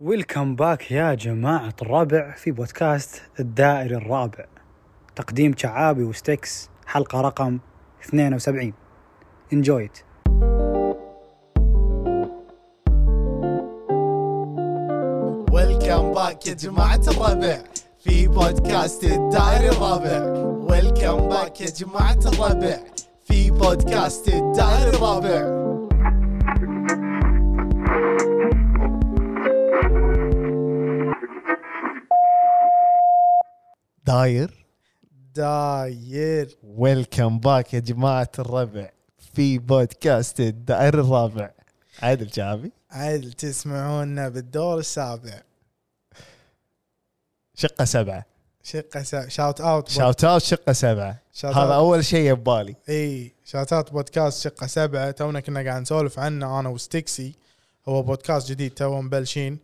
ويلكم باك يا جماعة الربع في بودكاست الدائري الرابع تقديم شعابي وستكس حلقة رقم 72 انجويت ويلكم باك يا جماعة الربع في بودكاست الدائري الرابع ويلكم باك يا جماعة الربع في بودكاست الدائري الرابع داير داير ويلكم باك يا جماعة الربع في بودكاست الدائري الرابع عادل شعبي عدل تسمعونا بالدور السابع شقة سبعة شقة سا... شاوت اوت بود... شاوت اوت شقة سبعة شاوت هذا أوت. أول شيء ببالي اي شاوت اوت بودكاست شقة سبعة تونا كنا قاعد نسولف عنه انا وستيكسي هو بودكاست جديد تو مبلشين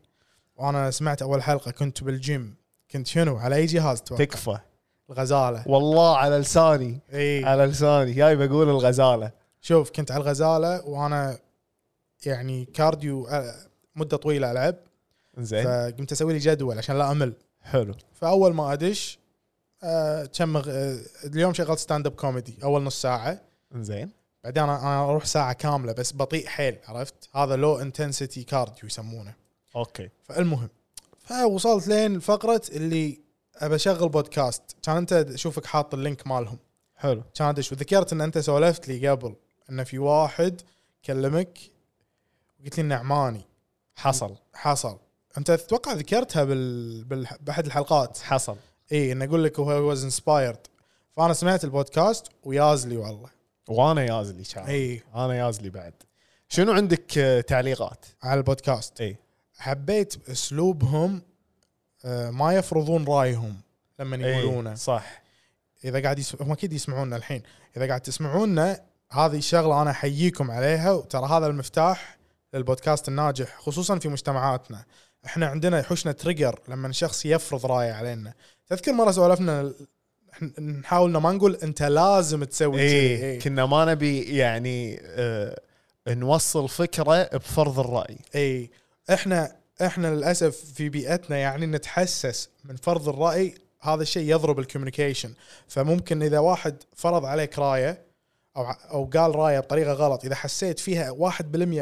وانا سمعت اول حلقة كنت بالجيم كنت شنو على اي جهاز توقع تكفى الغزالة والله على لساني إيه، اي على لساني جاي بقول الغزالة شوف كنت على الغزالة وانا يعني كارديو آه، مدة طويلة العب زين فقمت اسوي لي جدول عشان لا امل حلو فاول ما ادش آه، كم غ- آه، اليوم شغلت ستاند اب كوميدي اول نص ساعه زين بعدين انا أنا اروح ساعه كامله بس بطيء حيل عرفت هذا لو انتنسيتي كارديو يسمونه اوكي فالمهم فوصلت لين فقره اللي ابى اشغل بودكاست كان انت اشوفك حاط اللينك مالهم حلو كان ادش وذكرت ان انت سولفت لي قبل ان في واحد كلمك وقلت لي انه عماني حصل حصل انت تتوقع ذكرتها بال... بال... باحد الحلقات حصل اي ان اقول لك هو واز انسبايرد فانا سمعت البودكاست ويازلي والله إيه. وانا يازلي شعب اي انا يازلي بعد شنو عندك آه، تعليقات؟ على البودكاست اي حبيت اسلوبهم آه، ما يفرضون رايهم لما يقولونه إي، صح اذا قاعد يس... هم اكيد يسمعونا الحين اذا قاعد تسمعونا هذه الشغله انا احييكم عليها وترى هذا المفتاح للبودكاست الناجح خصوصا في مجتمعاتنا احنا عندنا يحوشنا تريجر لما شخص يفرض رايه علينا تذكر مره سولفنا ال- إحنا نحاول إن ما نقول انت لازم تسوي كذي. اي إيه، كنا ما نبي يعني آه، نوصل فكره بفرض الراي اي احنا احنا للاسف في بيئتنا يعني نتحسس من فرض الراي هذا الشيء يضرب الكوميونيكيشن فممكن اذا واحد فرض عليك رايه او ع- او قال رايه بطريقه غلط اذا حسيت فيها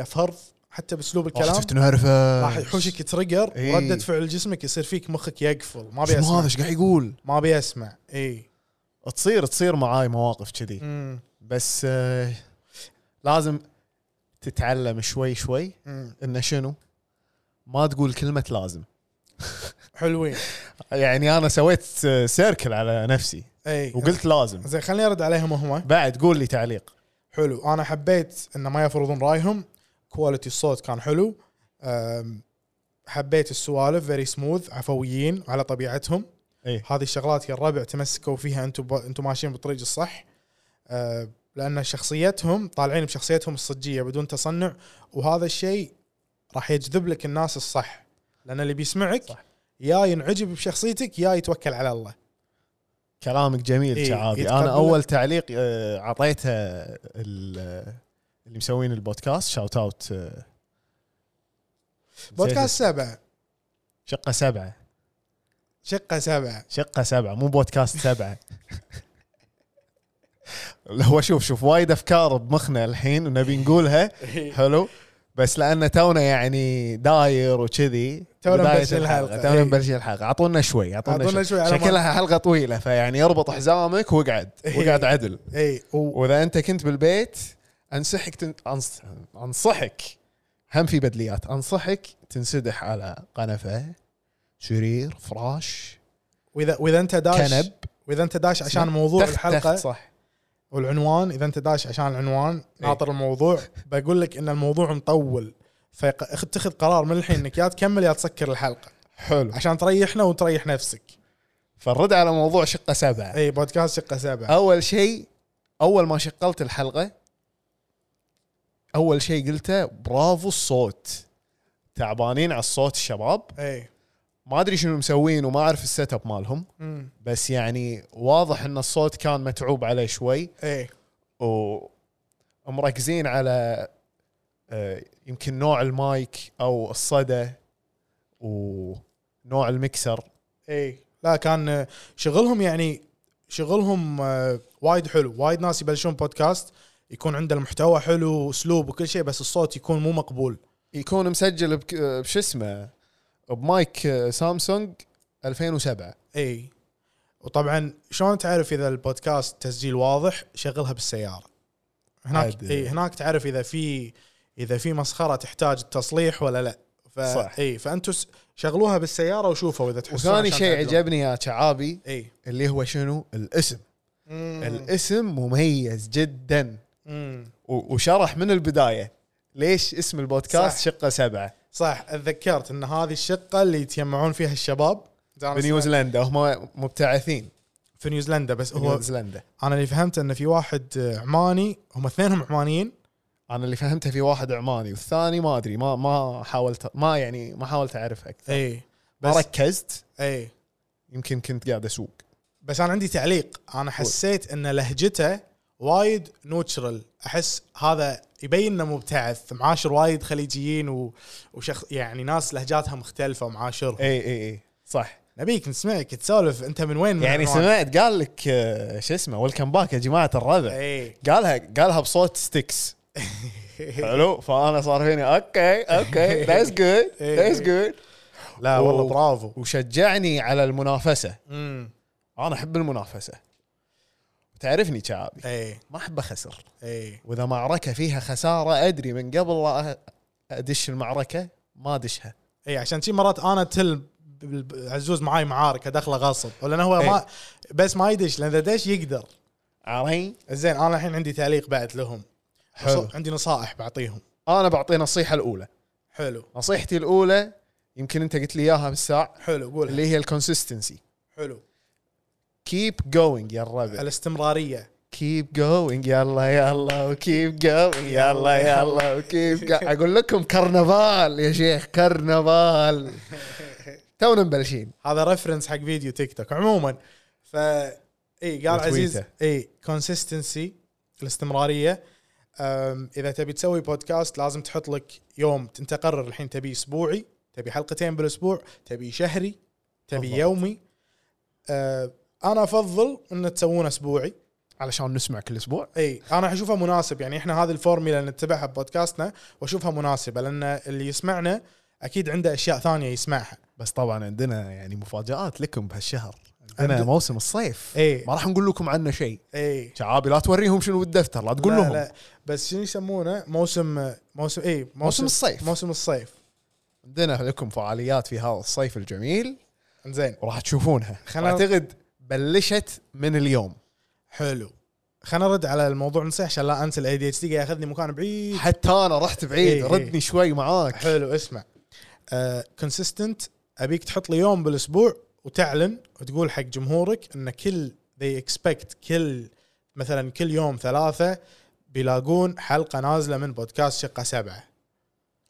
1% فرض حتى باسلوب الكلام تنرفز راح يحوشك تريجر إي. ورده فعل جسمك يصير فيك مخك يقفل ما ابي اسمع ايش قاعد يقول؟ ما إيه. ابي اسمع اي تصير تصير معاي مواقف كذي أمم، بس آه، لازم تتعلم شوي شوي أمم. انه شنو؟ ما تقول كلمه لازم حلوين يعني انا سويت آه، سيركل على نفسي اي وقلت لازم إيه. زين خليني ارد عليهم هم بعد قول لي تعليق حلو انا حبيت انه ما يفرضون رايهم كواليتي الصوت كان حلو أم، حبيت السوالف فيري سموث عفويين على طبيعتهم إيه. هذه الشغلات يا الربع تمسكوا فيها انتم ب... انتم ماشيين بالطريق الصح أه، لان شخصيتهم طالعين بشخصيتهم الصجيه بدون تصنع وهذا الشيء راح يجذب لك الناس الصح لان اللي بيسمعك صح. يا ينعجب بشخصيتك يا يتوكل على الله كلامك جميل إيه، شعابي يتقبل- انا اول تعليق آه، عطيته ال- اللي مسوين البودكاست شاوت اوت آه، بودكاست سبعه شقه سبعه شقه سبعه شقه سبعه مو بودكاست سبعه هو شوف شوف وايد افكار بمخنا الحين ونبي نقولها حلو بس لان تونا يعني داير وكذي تونا بداية مبلشين الحلقة. تونا إيه. مبلشين الحلقه اعطونا شوي أعطونا اعطونا شوي شوي على ما- إيه. شكلها حلقه طويله فيعني اربط حزامك واقعد واقعد عدل اي و... واذا انت كنت بالبيت انصحك تن... أنص... انصحك هم في بدليات انصحك تنسدح على قنفه سرير فراش واذا واذا انت داش كنب. واذا انت داش عشان موضوع تخت- الحلقه تخت إيه. صح والعنوان اذا انت داش عشان العنوان ناطر الموضوع بقول لك ان الموضوع مطول فتخذ قرار من الحين انك يا تكمل يا تسكر الحلقه حلو عشان تريحنا وتريح نفسك فالرد على موضوع شقه سبعه اي بودكاست شقه سبعه اول شيء اول ما شغلت الحلقه اول شيء قلته برافو الصوت تعبانين على الصوت الشباب اي ما ادري شنو مسوين وما اعرف السيت اب مالهم أمم. بس يعني واضح ان الصوت كان متعوب عليه شوي اي ومركزين على آه، يمكن نوع المايك او الصدى ونوع المكسر اي إيه. لا كان شغلهم يعني شغلهم آه، وايد حلو وايد ناس يبلشون بودكاست يكون عنده المحتوى حلو واسلوب وكل شيء بس الصوت يكون مو مقبول يكون مسجل بك- بش اسمه بمايك سامسونج 2007 اي وطبعا شلون تعرف اذا البودكاست تسجيل واضح شغلها بالسياره هناك عاد. اي هناك تعرف اذا في اذا في مسخره تحتاج تصليح ولا لا ف... صح. اي فانتم س- شغلوها بالسياره وشوفوا اذا تحسون وثاني عشان شيء تعدلون. عجبني يا شعابي اي اللي هو شنو الاسم ال... الاسم مميز جدا و- وشرح من البدايه ليش اسم البودكاست صح. شقه سبعه صح اتذكرت ان هذه الشقه اللي يتجمعون فيها الشباب بنيوزيلندا هم مبتعثين في نيوزيلندا بس هو بنيوزيلندا انا اللي فهمت انه في واحد آه، عماني هم اثنينهم عمانيين انا اللي فهمته في واحد عماني والثاني ما ادري ما ما حاولت ما يعني ما حاولت اعرف اكثر اي ما بس- ركزت اي يمكن كنت قاعد اسوق بس انا عندي تعليق انا حسيت ان لهجته وايد نوتشرال احس هذا يبين انه مبتعث معاشر وايد خليجيين و... وشخص يعني ناس لهجاتها مختلفه معاشرهم اي اي اي إيه، صح نبيك نسمعك تسولف انت من وين من يعني عنوان؟ سمعت قال لك آه، شو اسمه ويلكم باك يا جماعه الربع اي قالها قالها بصوت ستيكس حلو فانا صار فيني اوكي اوكي ذاتس جود ذاتس جود لا و- والله برافو وشجعني على المنافسه امم انا احب المنافسه تعرفني شعبي اي ما احب اخسر اي واذا معركه فيها خساره ادري من قبل لا ادش المعركه ما ادشها اي إيه، عشان شي مرات انا تل بال- عزوز معاي معارك دخله غصب ولا هو إي. ما بس ما يدش لان اذا دش يقدر عرفت زين انا الحين عندي تعليق بعد لهم حلو. عندي نصائح بعطيهم انا بعطي نصيحه الاولى حلو نصيحتي الاولى يمكن انت قلت لي اياها بالساعه حلو قول اللي هي الكونسستنسي حلو كيب جوينج يا الربع الاستمراريه كيب جوينج يلا يلا وكيب جوينج يلا يلا وكيب اقول لكم كرنفال يا شيخ كرنفال تونا مبلشين هذا ريفرنس حق فيديو تيك توك عموما ف اي قال وتويته. عزيز اي كونسستنسي الاستمراريه أم، اذا تبي تسوي بودكاست لازم تحط لك يوم انت قرر الحين تبي اسبوعي تبي حلقتين بالاسبوع تبي شهري تبي بالضبط. يومي أه، انا افضل ان تسوون اسبوعي علشان نسمع كل اسبوع اي انا اشوفها مناسب يعني احنا هذه الفورميلا اللي نتبعها ببودكاستنا واشوفها مناسبه لان اللي يسمعنا اكيد عنده اشياء ثانيه يسمعها بس طبعا عندنا يعني مفاجات لكم بهالشهر عند- عندنا موسم الصيف إيه. ما راح نقول لكم عنه شيء اي شعابي لا توريهم شنو بالدفتر لا تقول لا لهم لا بس شنو يسمونه موسم موسم اي موسم, موسم الصيف. موسم الصيف عندنا لكم فعاليات في هذا الصيف الجميل زين وراح تشوفونها خلنا- خلنا اعتقد بلشت من اليوم حلو خلينا نرد على الموضوع نصيح عشان لا انسى الاي دي اتش دي ياخذني مكان بعيد حتى انا رحت بعيد إيه، إيه. ردني شوي معاك حلو اسمع كونسيستنت ابيك تحط لي يوم بالاسبوع وتعلن وتقول حق جمهورك ان كل they expect كل مثلا كل يوم ثلاثه بيلاقون حلقه نازله من بودكاست شقه سبعه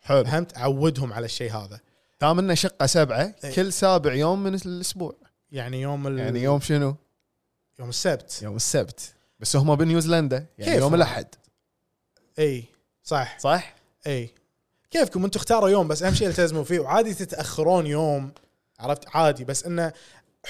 حلو فهمت عودهم على الشيء هذا دام انه شقه سبعه إيه. كل سابع يوم من الاسبوع يعني يوم ال... يعني يوم شنو؟ يوم السبت يوم السبت بس هم بنيوزيلندا يعني كيف يوم هم؟ الاحد اي إيه، صح صح؟ اي كيفكم انتم اختاروا يوم بس اهم شيء التزموا فيه وعادي تتاخرون يوم عرفت عادي بس انه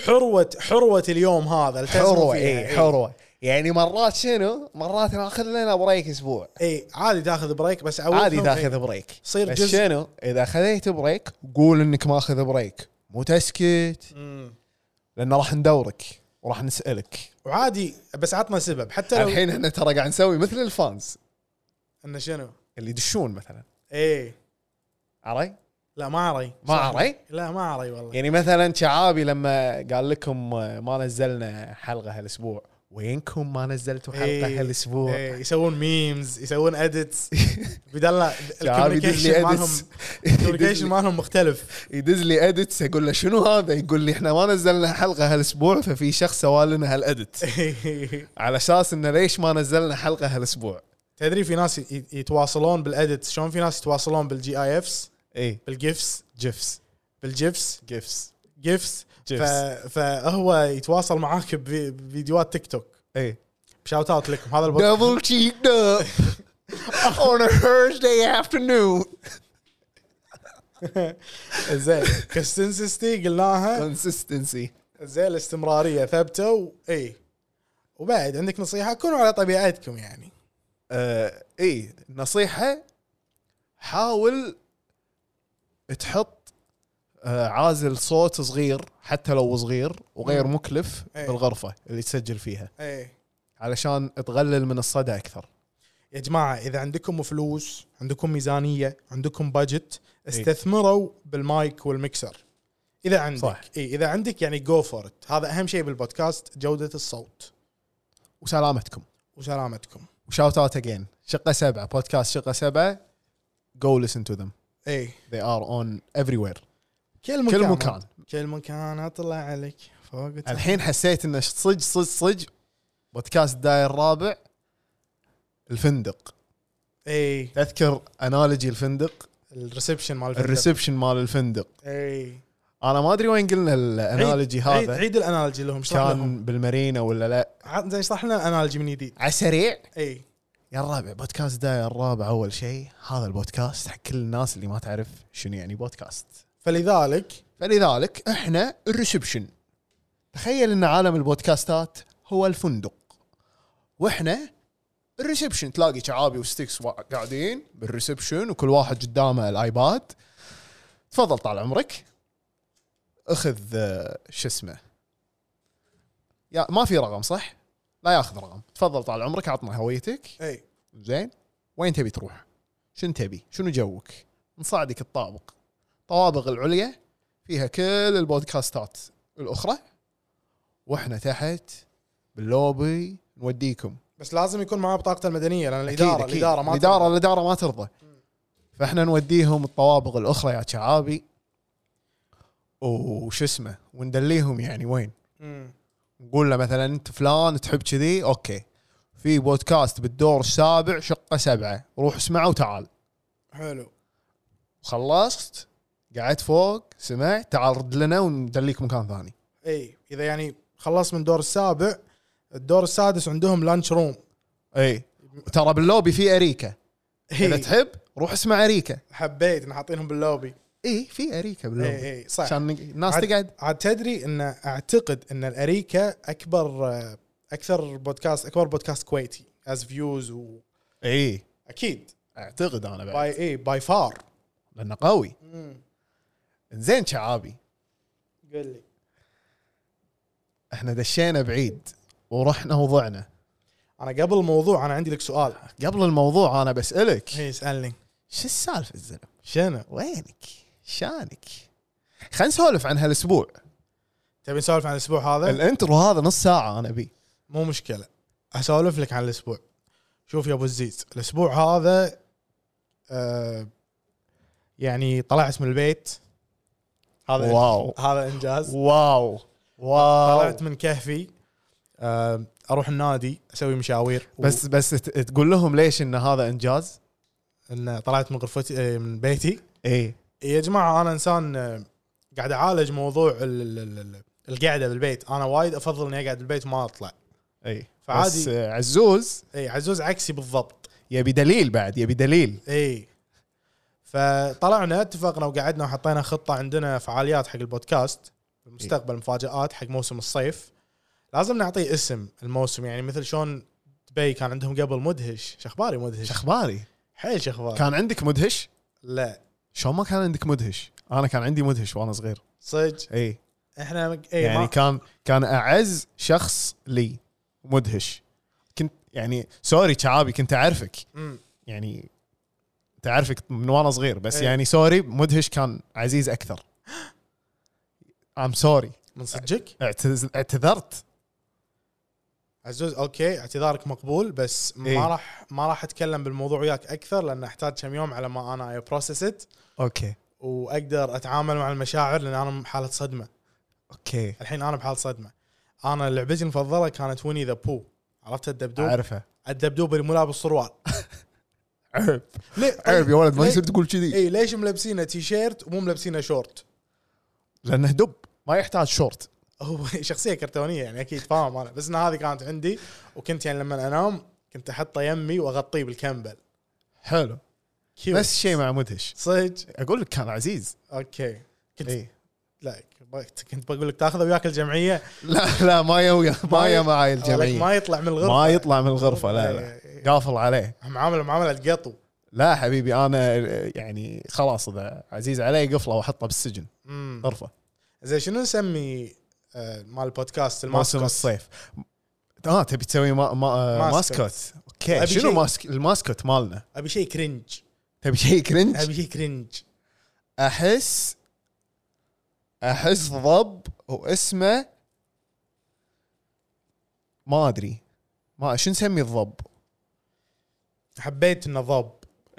حروه حروه اليوم هذا التزموا حروه فيها. اي حروه يعني مرات شنو؟ مرات ناخذ لنا بريك اسبوع اي عادي تاخذ بريك بس عودهم عادي إي. تاخذ بريك صير بس جزء. شنو؟ اذا اخذت بريك قول انك ماخذ بريك مو تسكت مم. لان راح ندورك وراح نسالك وعادي بس عطنا سبب حتى لو الحين احنا ترى قاعد نسوي مثل الفانز انه شنو اللي يدشون مثلا اي عري؟ لا ما عري ما عري؟ لا ما عري والله يعني مثلا شعابي لما قال لكم ما نزلنا حلقه هالاسبوع وينكم ما نزلتوا إي. حلقه هالاسبوع؟ إي، يسوون ميمز يسوون اديتس بدل لا شعابي يدز الكوميونيكيشن لي مالهم ادتس الكوميونيكيشن مالهم مختلف يدز لي ادتس اقول له شنو هذا؟ يقول لي احنا ما نزلنا حلقه هالاسبوع ففي شخص سوى لنا هالادت على اساس انه ليش ما نزلنا حلقه هالاسبوع؟ تدري في ناس ي- يتواصلون بالاديتس شلون في ناس يتواصلون بالجي اي افس اي بالجيفس جيفس بالجيفس جيفس جيفس ف... جيفس فهو يتواصل معاك بفي- بفيديوهات تيك توك اي شاوت اوت لكم هذا البودكاست دبل cheeked up on a Thursday afternoon زين كونسستنسي قلناها كونسستنسي زين الاستمراريه ثابته و... اي وبعد عندك نصيحه كونوا على طبيعتكم يعني آه اي نصيحه حاول تحط آه عازل صوت صغير حتى لو صغير وغير مكلف إيه. بالغرفه اللي تسجل فيها اي علشان تقلل من الصدى اكثر يا جماعه اذا عندكم فلوس عندكم ميزانيه عندكم بادجت إيه. استثمروا بالمايك والمكسر اذا عندك صح. اي اذا عندك يعني جو فور هذا اهم شيء بالبودكاست جوده الصوت وسلامتكم وسلامتكم وشاوت اوت اجين شقه سبعه بودكاست شقه سبعه جو لسن تو ذم اي they are on everywhere إيه. كل مكان كل مكان كل مكان اطلع عليك فوق الحين حسيت انه صج صج صج بودكاست داير الرابع الفندق اي تذكر انالوجي الفندق الريسبشن مال الفندق. الريسبشن مال الفندق اي انا ما ادري وين قلنا الانالوجي إيه. عيد- عيد, هذا عيد الانالوجي لهم اشرح لهم كان بالمارينا ولا لا عاد زين اشرح لنا الانالوجي من جديد إيه. على السريع اي يا الرابع بودكاست داير الرابع اول شيء هذا البودكاست حق كل الناس اللي ما تعرف شنو يعني بودكاست فلذلك فلذلك احنا الريسبشن تخيل ان عالم البودكاستات هو الفندق واحنا الريسبشن تلاقي شعابي وستيكس وا- قاعدين بالريسبشن وكل واحد قدامه الايباد تفضل طال عمرك اخذ آه، شو اسمه يا ما في رقم صح؟ لا ياخذ رقم تفضل طال عمرك عطنا هويتك اي زين وين تبي تروح؟ شنو تبي؟ شنو جوك؟ نصعدك الطابق طوابق العليا فيها كل البودكاستات الاخرى واحنا تحت باللوبي نوديكم بس لازم يكون معاه بطاقه المدنيه لان أكيد الاداره أكيد. الاداره ما الاداره الاداره ما ترضى فاحنا نوديهم الطوابق الاخرى يا شعابي وش اسمه وندليهم يعني وين مم. نقول له مثلا انت فلان تحب كذي اوكي في بودكاست بالدور السابع شقه سبعه روح اسمعه وتعال حلو خلصت قعدت فوق سمعت تعال رد لنا وندليك مكان ثاني اي اذا يعني خلص من دور السابع الدور السادس عندهم لانش روم اي ترى باللوبي في اريكا اذا إي، تحب روح اسمع اريكا حبيت إن حاطينهم باللوبي اي في اريكا اي باللوبي اي صح عشان نق- الناس عاد- تقعد عاد تدري ان اعتقد ان الاريكا اكبر اكثر بودكاست اكبر بودكاست كويتي از فيوز واكيد اي اعتقد انا بعد باي اي باي فار لانه قوي زين شعابي قل لي احنا دشينا بعيد ورحنا وضعنا انا قبل الموضوع انا عندي لك سؤال قبل الموضوع انا بسالك اي اسالني شو السالفه الزلمه شنو وينك شانك خلينا نسولف عن هالاسبوع أه. تبي نسولف عن الاسبوع هذا الانترو هذا نص ساعه انا بيه مو مشكله اسولف لك عن الاسبوع شوف يا ابو الزيز الاسبوع هذا آه يعني طلعت من البيت هذا واو. هذا انجاز واو واو طلعت من كهفي آه، اروح النادي اسوي مشاوير بس بس ت- تقول لهم ليش ان هذا انجاز؟ ان طلعت من غرفتي آه، من بيتي اي يا جماعه انا انسان آه، قاعد اعالج موضوع ال- ال- ال- ال- القعده بالبيت انا وايد افضل اني اقعد بالبيت وما اطلع اي فعادي. بس آه، عزوز اي عزوز عكسي بالضبط يبي دليل بعد يبي دليل اي فطلعنا اتفقنا وقعدنا وحطينا خطه عندنا فعاليات حق البودكاست المستقبل مفاجات حق موسم الصيف لازم نعطيه اسم الموسم يعني مثل شلون دبي كان عندهم قبل مدهش شخباري مدهش ايش اخباري؟ حيل شخباري كان عندك مدهش؟ لا شلون ما كان عندك مدهش؟ انا كان عندي مدهش وانا صغير صدق اي احنا مك... اي يعني يعني كان كان اعز شخص لي مدهش كنت يعني سوري شعابي كنت اعرفك ما... يعني تعرفك من وانا صغير بس إيه. يعني سوري مدهش كان عزيز اكثر ام سوري من صدقك اعتذرت عزوز اوكي اعتذارك مقبول بس ما إيه. راح ما راح اتكلم بالموضوع وياك اكثر لان احتاج كم يوم على ما انا بروسس اوكي واقدر اتعامل مع المشاعر لان انا بحاله صدمه اوكي الحين انا بحاله صدمه انا لعبتي المفضله كانت وني ذا بو عرفت الدبدوب اعرفه الدبدوب اللي مو لابس سروال عيب ليه عيب يا ولد ما ليه- يصير تقول كذي اي ليش ملبسينه تي شيرت ومو ملبسينه شورت لانه دب ما يحتاج شورت هو شخصيه كرتونيه يعني اكيد فاهم انا بس ان هذه كانت عندي وكنت يعني لما انام كنت احطه يمي واغطيه بالكمبل حلو كيوت. نفس الشيء مع مدهش صدق اقول لك كان عزيز اوكي كنت اي لا كنت بقول لك تاخذه وياك الجمعيه لا لا ما يا ما يا معي لك الجمعيه ما إيه، يطلع من الغرفه ما يطلع من الغرفه لا لا قافل عليه معامله معامله قطو لا حبيبي انا يعني خلاص اذا عزيز علي قفله واحطه بالسجن أمم. غرفه زين شنو نسمي آه، مال البودكاست الماسكوت موسم الصيف اه تبي تسوي ما ما ماسكوت. ماسكوت اوكي أبي شنو شيء- ماسك الماسكوت مالنا ابي شيء كرنج تبي شيء كرنج ابي شيء كرنج احس احس ضب واسمه ما ادري ما شو نسمي الضب حبيت انه ضب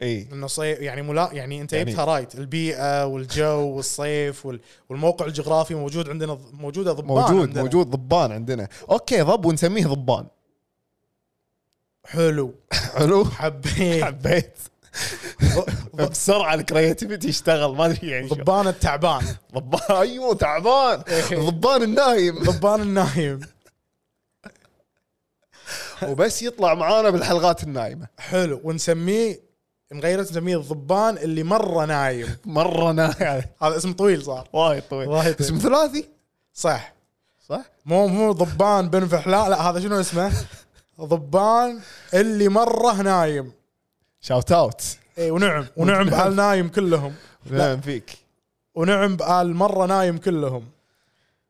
اي انه صيف يعني ملا يعني انت يعني- جبتها رايت البيئه والجو والصيف وال... والموقع الجغرافي موجود عندنا موجوده ضبان موجود عندنا. موجود ضبان عندنا اوكي ضب ونسميه ضبان حلو حلو حبيت حبيت ض- ض- بسرعه الكرياتيفيتي اشتغل ما ادري يعني شو. ضبان التعبان ضبان ايوه تعبان ضبان النايم ضبان النايم وبس يطلع معانا بالحلقات النايمه حلو ونسميه نغيره نسميه الضبان اللي مره نايم مره نايم هذا اسم طويل صار وايد طويل وايد اسم ثلاثي صح صح؟ مو مو ضبان بن فحلاء لا هذا شنو اسمه؟ ضبان اللي مره نايم شاوت اوت اي إيه، ونعم ونعم بال نايم كلهم نعم فيك ونعم بال مره نايم كلهم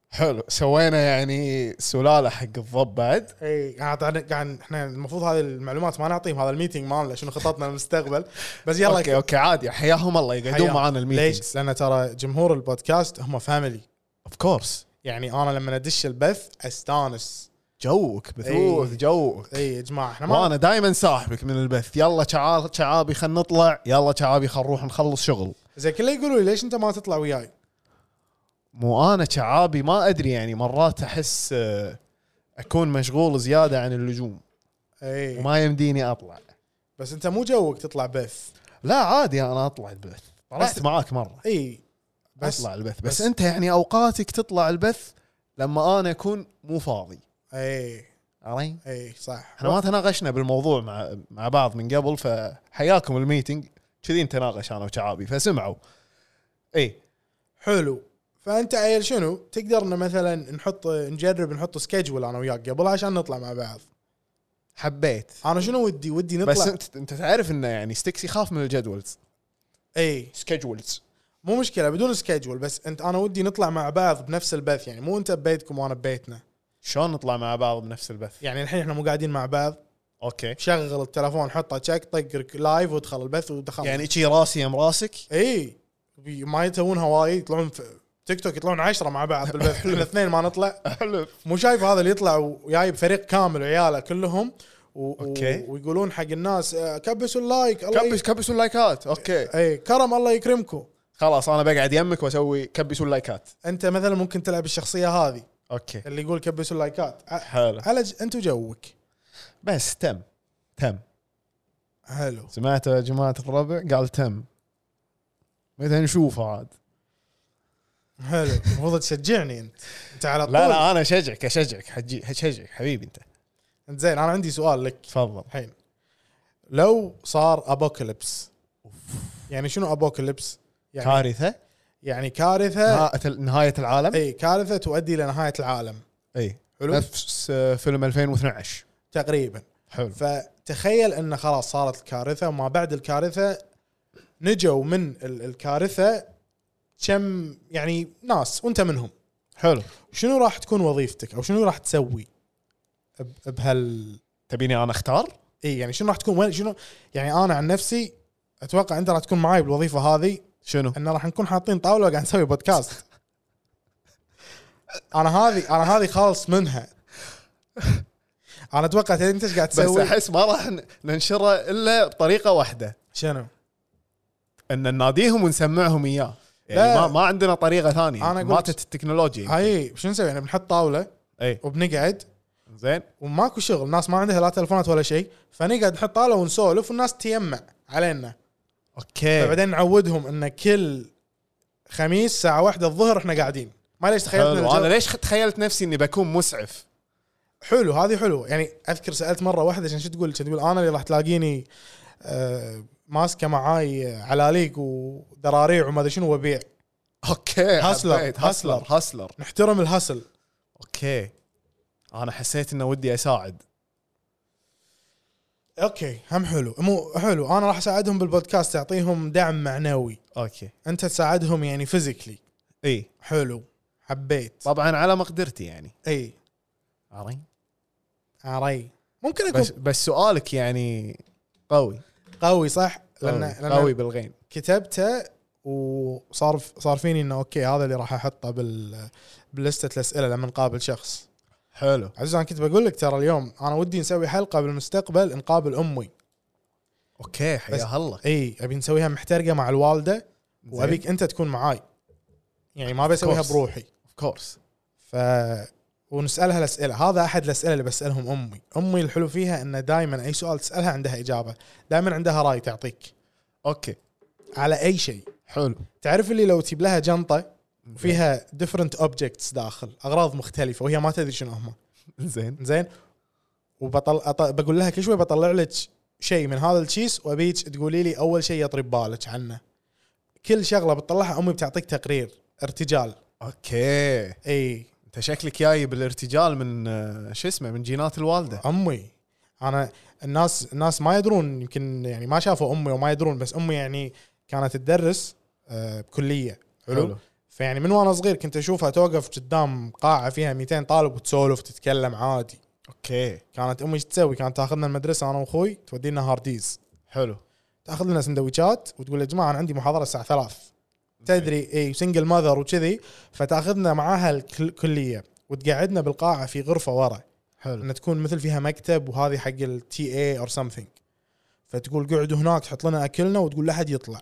حلو سوينا يعني سلاله حق الضب بعد اي إيه، يعني قاعد قاعد احنا المفروض هذه المعلومات ما نعطيهم هذا الميتنج مالنا شنو خططنا للمستقبل بس يلا اوكي اوكي عادي حياهم الله يقعدون حياهم. معانا الميتنج ليش؟ لان ترى جمهور البودكاست هم فاميلي اوف كورس يعني انا لما ادش البث استانس جوك بثوث إي. جوك اي إيه يا جماعه احنا ما وانا دائما صاحبك من البث يلا شعار شعابي خل نطلع يلا شعابي خل نروح نخلص شغل زي كله يقولوا لي ليش انت ما تطلع وياي؟ مو انا شعابي ما ادري يعني مرات احس آه، اكون مشغول زياده عن اللزوم اي وما يمديني اطلع إيه. بس انت مو جوك تطلع بث لا عادي انا اطلع البث طلعت بس- معاك مره اي بس بس اطلع البث بس, بس بس- انت يعني اوقاتك تطلع البث لما انا اكون مو فاضي اي عرفت؟ اي إيه، صح احنا ما تناقشنا بالموضوع مع مع بعض من قبل فحياكم الميتنج كذي نتناقش انا وشعابي فسمعوا إيه، اي حلو فانت عيل شنو تقدر إنه مثلا نحط نجرب نحط سكجول انا وياك قبل عشان نطلع مع بعض حبيت انا شنو ودي ودي نطلع بس انت انت تعرف انه يعني ستيكس يخاف من الجدولز اي سكجولز مو مشكله بدون سكجول بس انت انا ودي نطلع مع بعض بنفس البث يعني مو انت ببيتكم وانا ببيتنا شلون نطلع مع بعض بنفس البث يعني الحين احنا مو قاعدين مع بعض اوكي شغل التلفون حطه تشيك طق رك- لايف وادخل البث ودخل يعني شي راسي يم راسك اي بي- ما يسوونها وايد يطلعون في تيك توك يطلعون عشرة مع بعض بالبث احنا اثنين ما نطلع مو شايف هذا اللي يطلع وجايب فريق كامل وعياله كلهم و... و- أوكي. ويقولون حق الناس آه، كبسوا اللايك الله كبس كبسوا اللايكات اوكي ي... اي كرم الله يكرمكم خلاص انا بقعد يمك واسوي كبسوا اللايكات انت مثلا ممكن تلعب الشخصيه هذه اوكي اللي يقول كبسوا اللايكات ع- حلو على ج... انت وجوك بس تم تم حلو سمعتوا يا جماعه الربع قال تم متى نشوفه عاد حلو المفروض تشجعني انت انت على طول لا لا انا شجعك اشجعك حجي اشجعك حبيبي انت انت زين انا عندي سؤال لك تفضل الحين لو صار ابوكاليبس يعني شنو ابوكاليبس؟ يعني كارثه يعني كارثه نهايه نهايه العالم اي كارثه تؤدي الى نهايه العالم اي إيه. حلو. نفس آه، فيلم 2012 تقريبا حلو فتخيل ان خلاص صارت الكارثه وما بعد الكارثه نجوا من ال- الكارثه كم يعني ناس وانت منهم حلو شنو راح تكون وظيفتك او شنو راح تسوي ب- بهال تبيني انا اختار؟ اي يعني شنو راح تكون وين شنو يعني انا عن نفسي اتوقع انت راح تكون معاي بالوظيفه هذه شنو؟ ان راح نكون حاطين طاوله وقاعد نسوي بودكاست انا هذه انا هذه خالص منها انا اتوقع تدري انت ايش قاعد بس تسوي احس ما راح ن- ننشره الا بطريقه واحده شنو ان نناديهم ونسمعهم اياه يعني لا. ما, ما عندنا طريقه ثانيه أنا أنا أقول- ماتت التكنولوجيا هاي شو نسوي احنا بنحط طاوله اي وبنقعد زين وماكو شغل الناس ما عندها لا تلفونات ولا شيء فنقعد نحط طاوله ونسولف والناس تيمع علينا اوكي فبعدين نعودهم ان كل خميس ساعه واحدة الظهر احنا قاعدين ما ليش تخيلت إن حلو الجو- انا ليش خ- تخيلت نفسي اني بكون مسعف حلو هذه حلوه يعني اذكر سالت مره واحده عشان شو تقول؟ كانت تقول انا اللي راح تلاقيني آه ماسكه معاي علاليق ودراريع وما ادري شنو وبيع اوكي هاسلر، حبيت. هاسلر هاسلر. هاسلر نحترم الهسل اوكي انا حسيت انه ودي اساعد اوكي هم حلو مو حلو انا راح اساعدهم بالبودكاست اعطيهم دعم معنوي اوكي انت تساعدهم يعني فيزيكلي اي حلو حبيت إيه. طبعا على مقدرتي يعني اي عرفت عري ممكن اكون بس بس سؤالك يعني قوي قوي صح لان قوي, لان قوي بالغين كتبته وصار صار فيني انه اوكي هذا اللي راح احطه بال بلسته الاسئله لما نقابل شخص حلو عزيز انا كنت بقول لك ترى اليوم انا ودي نسوي حلقه بالمستقبل نقابل امي اوكي حيا بس- هلا اي ابي نسويها محترقه مع الوالده وابيك انت تكون معاي يعني ما بسويها course. بروحي اوف كورس ف ونسالها الاسئله هذا احد الاسئله اللي بسالهم امي امي الحلو فيها انه دائما اي سؤال تسالها عندها اجابه دائما عندها راي تعطيك اوكي على اي شيء حلو تعرف اللي لو تجيب لها جنطه فيها ديفرنت اوبجكتس داخل اغراض مختلفه وهي ما تدري شنو هم زين زين وبطل أط... بقول لها كل شوي بطلع لك شيء من هذا الكيس وابيك تقولي لي اول شيء يطري ببالك عنه كل شغله بتطلعها امي بتعطيك تقرير ارتجال إيه. اوكي اي انت شكلك جاي بالارتجال من آه، شو اسمه من جينات الوالده امي انا الناس الناس ما يدرون يمكن يعني ما شافوا امي وما يدرون بس امي يعني كانت تدرس آه، بكليه حلو فيعني من وانا صغير كنت اشوفها توقف قدام قاعه فيها 200 طالب وتسولف تتكلم عادي اوكي كانت امي ايش تسوي كانت تاخذنا المدرسه انا واخوي تودينا هارديز حلو تاخذ لنا سندويشات وتقول يا جماعه انا عندي محاضره الساعه 3 تدري اي سنجل ماذر وكذي فتاخذنا معاها الكليه وتقعدنا بالقاعه في غرفه ورا حلو ان تكون مثل فيها مكتب وهذه حق التي اي اور سمثينج فتقول قعدوا هناك تحط لنا اكلنا وتقول لا احد يطلع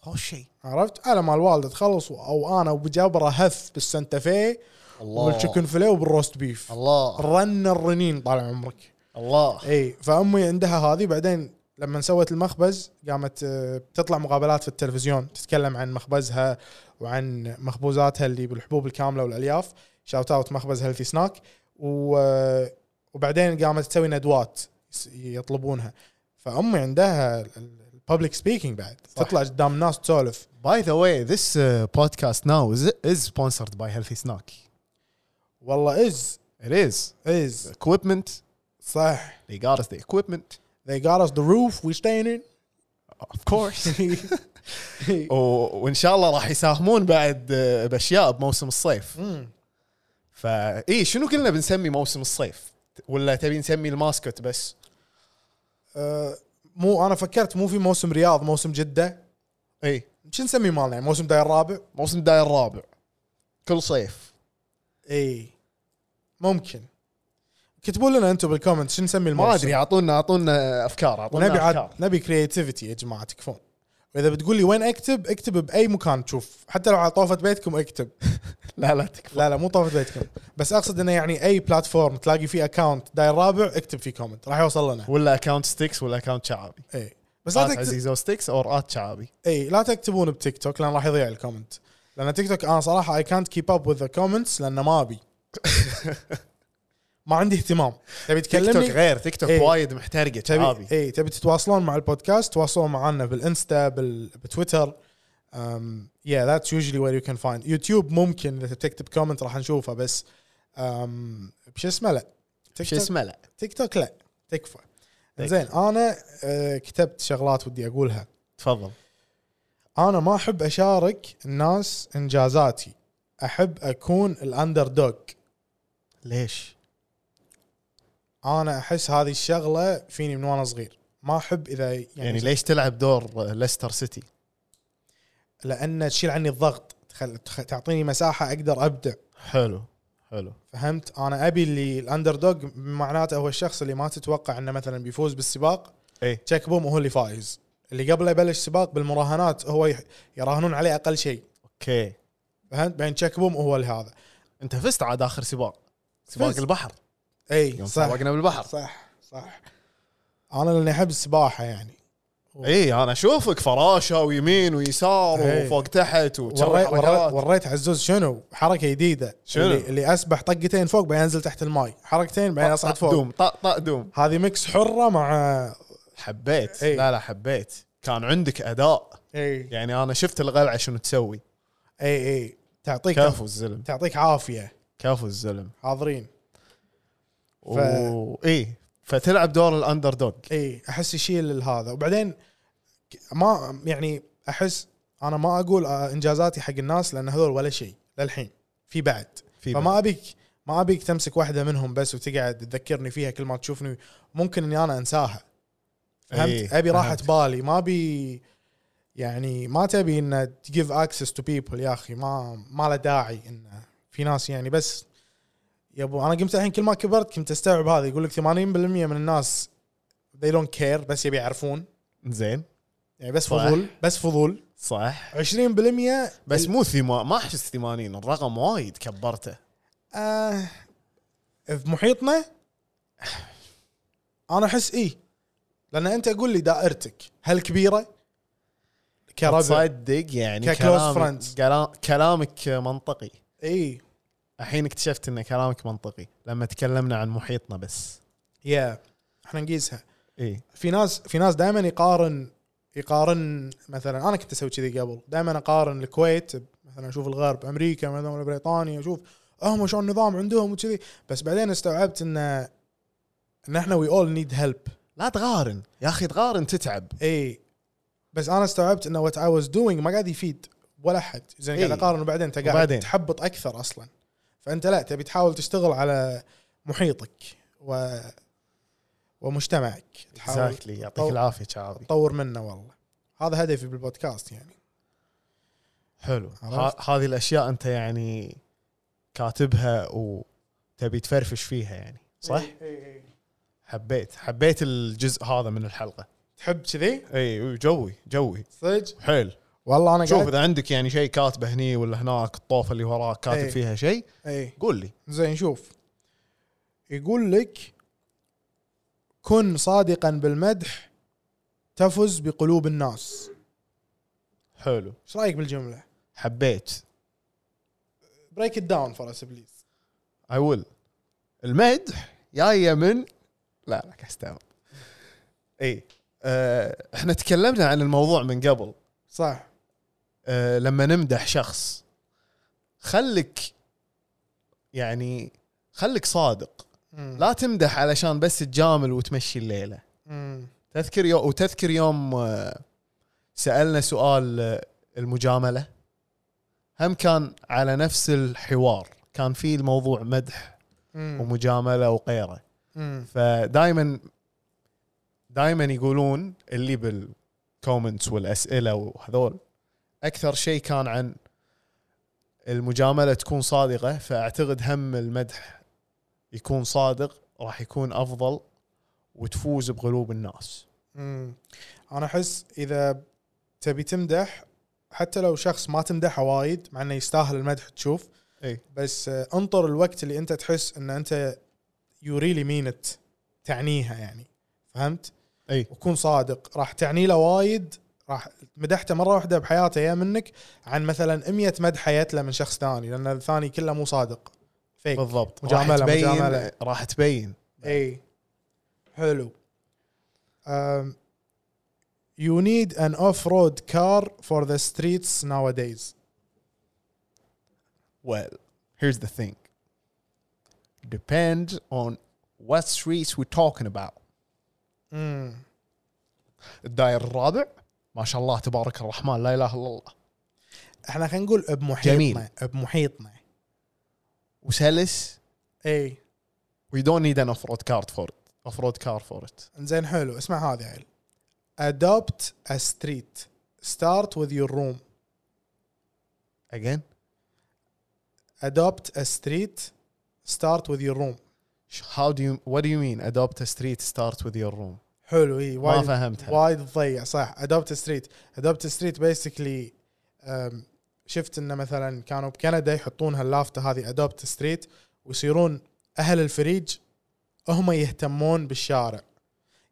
خوش شيء عرفت على ما الوالده تخلص او انا وابو جابر هف بالسنتافيه الله وبالتشيكن فيليه وبالروست بيف الله رن الرنين طال عمرك الله اي فامي عندها هذه بعدين لما سوت المخبز قامت آه، تطلع مقابلات في التلفزيون تتكلم عن مخبزها وعن مخبوزاتها اللي بالحبوب الكامله والالياف شاوت اوت مخبز هيلثي سناك و... آه، وبعدين قامت تسوي ندوات يس- يطلبونها فامي عندها الببليك سبيكينج بعد صح. تطلع قدام ناس تسولف باي ذا واي ذس بودكاست ناو از سبونسرد باي هيلثي سناك والله از It is. از Equipment. صح They got us the equipment. they got us the roof we staying in Of course. و... وان شاء الله راح يساهمون بعد آه، باشياء بموسم الصيف. مم. فا اي شنو قلنا بنسمي موسم الصيف؟ ولا تبي نسمي الماسكت بس؟ آه، مو انا فكرت مو في موسم رياض موسم جده اي شو نسمي مالنا يعني موسم داير الرابع موسم داير الرابع. كل صيف. اي ممكن كتبوا لنا انتم بالكومنت شو نسمي الموسم ما ادري اعطونا اعطونا افكار اعطونا ونبي افكار. عاد نبي كرياتيفيتي يا جماعه تكفون واذا بتقول لي وين اكتب اكتب باي مكان تشوف حتى لو على طوفه بيتكم اكتب لا لا تكفى. لا لا مو طوفه بيتكم بس اقصد انه يعني اي بلاتفورم تلاقي فيه اكونت داير رابع اكتب فيه كومنت راح يوصل لنا ولا اكونت ستيكس ولا اكونت شعابي. اي بس لا ات تكتب عزيزو ستيكس اور ات شعابي. اي لا تكتبون بتيك توك لان راح يضيع الكومنت لان تيك توك انا صراحه اي كانت كيب اب وذ كومنتس لان ما ابي ما عندي اهتمام تبي تيك توك تكلمني غير تيك توك إيه. وايد محترقه شعابي. تبي إيه، اي تبي تتواصلون مع البودكاست تواصلوا معنا بالانستا بال... بتويتر um, yeah that's usually where you can find يوتيوب ممكن اذا تكتب كومنت راح نشوفه بس um, بش اسمه لا تيك شو توك اسمه لا. تيك توك لا تكفى زين انا آه، كتبت شغلات ودي اقولها تفضل. انا ما احب اشارك الناس انجازاتي احب اكون الاندر دوغ ليش؟ انا احس هذه الشغله فيني من وانا صغير ما احب اذا يعني, يعني ليش تلعب دور ليستر سيتي؟ لان تشيل عني الضغط تخل... تخ- تعطيني مساحه اقدر ابدع حلو حلو فهمت انا ابي اللي الاندر دوغ معناته هو الشخص اللي ما تتوقع انه مثلا بيفوز بالسباق اي تشيك بوم هو اللي فايز اللي قبله يبلش سباق بالمراهنات هو يح- يراهنون عليه اقل شيء اوكي فهمت بعدين تشيك بوم هو هذا انت فزت عاد اخر سباق سباق فزت. البحر اي يوم إيه، صح سباقنا بالبحر صح صح انا لاني احب السباحه يعني اي انا اشوفك فراشه ويمين ويسار إيه. وفوق تحت وتسوي وري وري حركات وريت عزوز شنو حركه جديده شنو؟ اللي, اللي اسبح طقتين فوق بعدين انزل تحت الماي حركتين بعدين اصعد طق فوق دوم طق طق دوم هذه ميكس حره مع حبيت إي. لا لا حبيت كان عندك اداء اي يعني انا شفت القلعه شنو تسوي اي اي إيه، تعطيك كفو الزلم تعطيك عافيه كفو الزلم حاضرين ف... اي فتلعب دور الاندر دوج اي احس يشيل هذا وبعدين ك- ما يعني احس انا ما اقول آه، انجازاتي حق الناس لان هذول ولا شيء للحين في بعد في بعد. فما ابيك ما ابيك تمسك واحده منهم بس وتقعد تذكرني فيها كل ما تشوفني ممكن اني انا انساها فهمت إيه، ابي راحه فهمت. بالي ما ابي يعني ما تبي ان تجيف اكسس تو بيبل يا اخي ما ما له داعي انه في ناس يعني بس يا ابو انا قمت الحين كل ما كبرت كنت استوعب هذا يقول لك 80% من الناس they don't care بس يبي يعرفون زين يعني بس صح. فضول بس فضول صح 20% بس مو ثما ما احس 80 الرقم وايد كبرته آه في محيطنا انا احس ايه لان انت قول لي دائرتك هل كبيره؟ كربع تصدق يعني كclose كلامك friends. كلام- كلامك منطقي اي الحين اكتشفت ان كلامك منطقي لما تكلمنا عن محيطنا بس يا احنا نقيسها اي في ناس في ناس دائما يقارن يقارن مثلا انا كنت اسوي كذي قبل دائما اقارن الكويت ب- مثلا اشوف الغرب امريكا مثلا ولا بريطانيا اشوف هم شلون النظام عندهم وكذي بس بعدين استوعبت ان ان احنا وي اول نيد هيلب لا تقارن يا اخي تقارن تتعب اي إيه. بس انا استوعبت انه وات اي واز دوينج ما قاعد يفيد ولا احد زين إي. قاعد اقارن وبعدين انت قاعد إيه. وبعدين. تحبط اكثر اصلا فانت لا تبي تحاول تشتغل على محيطك و ومجتمعك تحاول Exactly. يعطيك طو- العافيه شعابي تطور منه والله هذا هدفي بالبودكاست يعني حلو عرفت؟ ه- هذه الاشياء انت يعني كاتبها وتبي تفرفش فيها يعني صح إيه، حبيت حبيت الجزء هذا من الحلقه تحب كذي اي جوي جوي صدق حلو والله انا شوف قاعد اذا عندك يعني شيء كاتبه هني ولا هناك الطوفه اللي وراك كاتب إي. فيها شيء اي قول لي إيه. زين شوف يقول لك كن صادقا بالمدح تفز بقلوب الناس حلو ايش رايك بالجمله حبيت بريك ات داون فور اس بليز اي ويل المدح جايه من لا لا كاستمر اي آه احنا تكلمنا عن الموضوع من قبل صح آه لما نمدح شخص خلك يعني خلك صادق مم. لا تمدح علشان بس تجامل وتمشي الليله مم. تذكر يوم وتذكر يوم آه، سالنا سؤال آه، المجامله هم كان على نفس الحوار كان في الموضوع مدح مم. ومجامله وغيره مم. فدائما دائما يقولون اللي بالكومنتس والاسئله وهذول اكثر شيء كان عن المجامله تكون صادقه فاعتقد هم المدح يكون صادق راح يكون افضل وتفوز بقلوب الناس مم. انا احس اذا تبي تمدح حتى لو شخص ما تمدحه وايد مع انه يستاهل المدح تشوف إي. بس آه، انطر الوقت اللي انت تحس ان انت يو ريلي مين ات تعنيها يعني فهمت؟ إي. وكون صادق راح تعني له وايد راح مدحته مره واحده بحياته يا منك عن مثلا 100 مدحه جت له من شخص ثاني لان الثاني كله مو صادق فيك بالضبط مجاملة- راح تبين مجاملة. راح تبين اي حلو Um, يو نيد ان اوف رود كار فور ذا ستريتس nowadays Well, here's the thing. Depends on what streets we're talking about. امم الداير الرابع ما شاء الله تبارك الرحمن لا اله الا الله احنا خلينا نقول بمحيطنا جميل. بمحيطنا وسلس اي we don't need an off-road car for it. Off-road car for it. زين حلو اسمع هذه عيل adopt a street start with your room Again? adopt a street start with your room ش- How do you what do you mean adopt a street start with your room؟ حلو اي ما وايد فهمتها. وايد تضيع صح ادوبت ستريت ادوبت ستريت بيسكلي شفت انه مثلا كانوا بكندا يحطون هاللافته هذه ادوبت ستريت ويصيرون اهل الفريج هم يهتمون بالشارع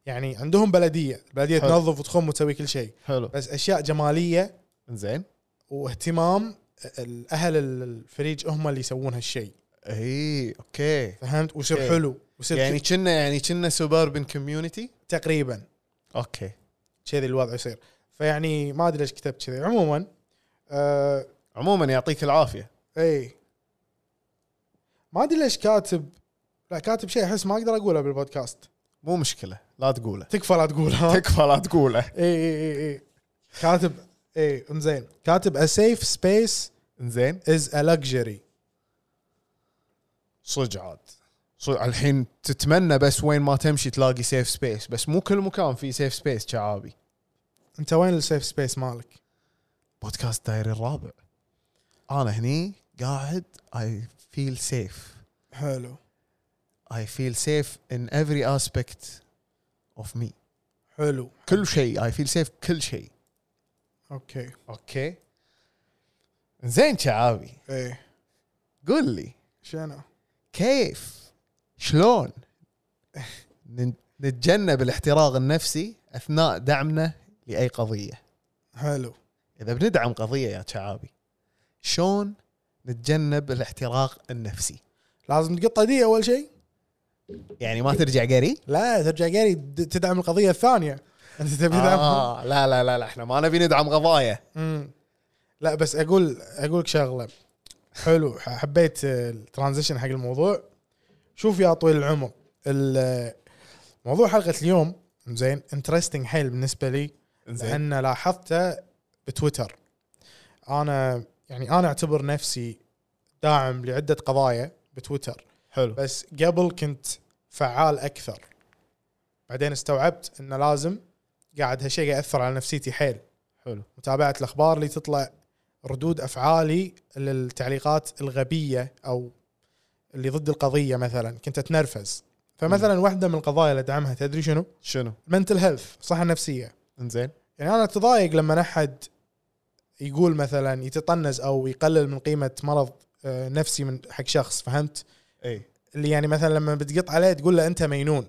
يعني عندهم بلديه البلديه حلو. تنظف وتخم وتسوي كل شيء حلو بس اشياء جماليه زين واهتمام ال- اهل الفريج هم اللي يسوون هالشيء اي اوكي فهمت ويصير أوكي. حلو ويصير يعني كنا يعني كنا سوبربن كوميونتي تقريبا اوكي كذي الوضع يصير فيعني ما ادري ليش كتبت كذي عموما آه عموما يعطيك العافيه اي ما ادري ليش كاتب لا كاتب شيء احس ما اقدر اقوله بالبودكاست مو مشكله لا تقوله تكفى لا تقول ها اي تكفى لا تقوله اي اي اي كاتب اي انزين كاتب a safe space زين is a luxury صدق عاد صدق الحين تتمنى بس وين ما تمشي تلاقي سيف سبيس بس مو كل مكان في سيف سبيس شعابي انت وين السيف سبيس مالك؟ بودكاست دايري الرابع انا هني قاعد اي فيل سيف حلو I feel safe in every aspect of me. حلو كل شيء I feel safe كل شيء. اوكي اوكي. زين شعابي ايه قل لي شنو؟ كيف شلون نن- نتجنب الاحتراق النفسي اثناء دعمنا لاي قضيه؟ حلو اذا بندعم قضيه يا شعابي شلون نتجنب الاحتراق النفسي؟ لازم تقط ايديه اول شيء يعني ما ترجع قري؟ لا ترجع قاري د- تدعم القضيه الثانيه انت تبي تدعم آه لا لا لا لا احنا ما نبي ندعم قضايا مم. لا بس اقول اقولك شغله حلو ح- حبيت الترانزيشن حق الموضوع شوف يا طويل العمر ال- موضوع حلقه اليوم زين انترستنج حيل بالنسبه لي زين لان لاحظته بتويتر انا يعني انا اعتبر نفسي داعم لعده قضايا بتويتر حلو بس قبل كنت فعال اكثر بعدين استوعبت انه لازم قاعد هالشيء قاعد ياثر على نفسيتي حيل حلو متابعه الاخبار اللي تطلع ردود افعالي للتعليقات الغبيه او اللي ضد القضيه مثلا كنت اتنرفز فمثلا واحده من القضايا اللي ادعمها تدري شنو؟ شنو؟ المنتل هيلث الصحه النفسيه انزين يعني انا اتضايق لما احد يقول مثلا يتطنز او يقلل من قيمه مرض آه، نفسي من حق شخص فهمت؟ اي اللي يعني مثلا لما بتقط عليه تقول له انت مينون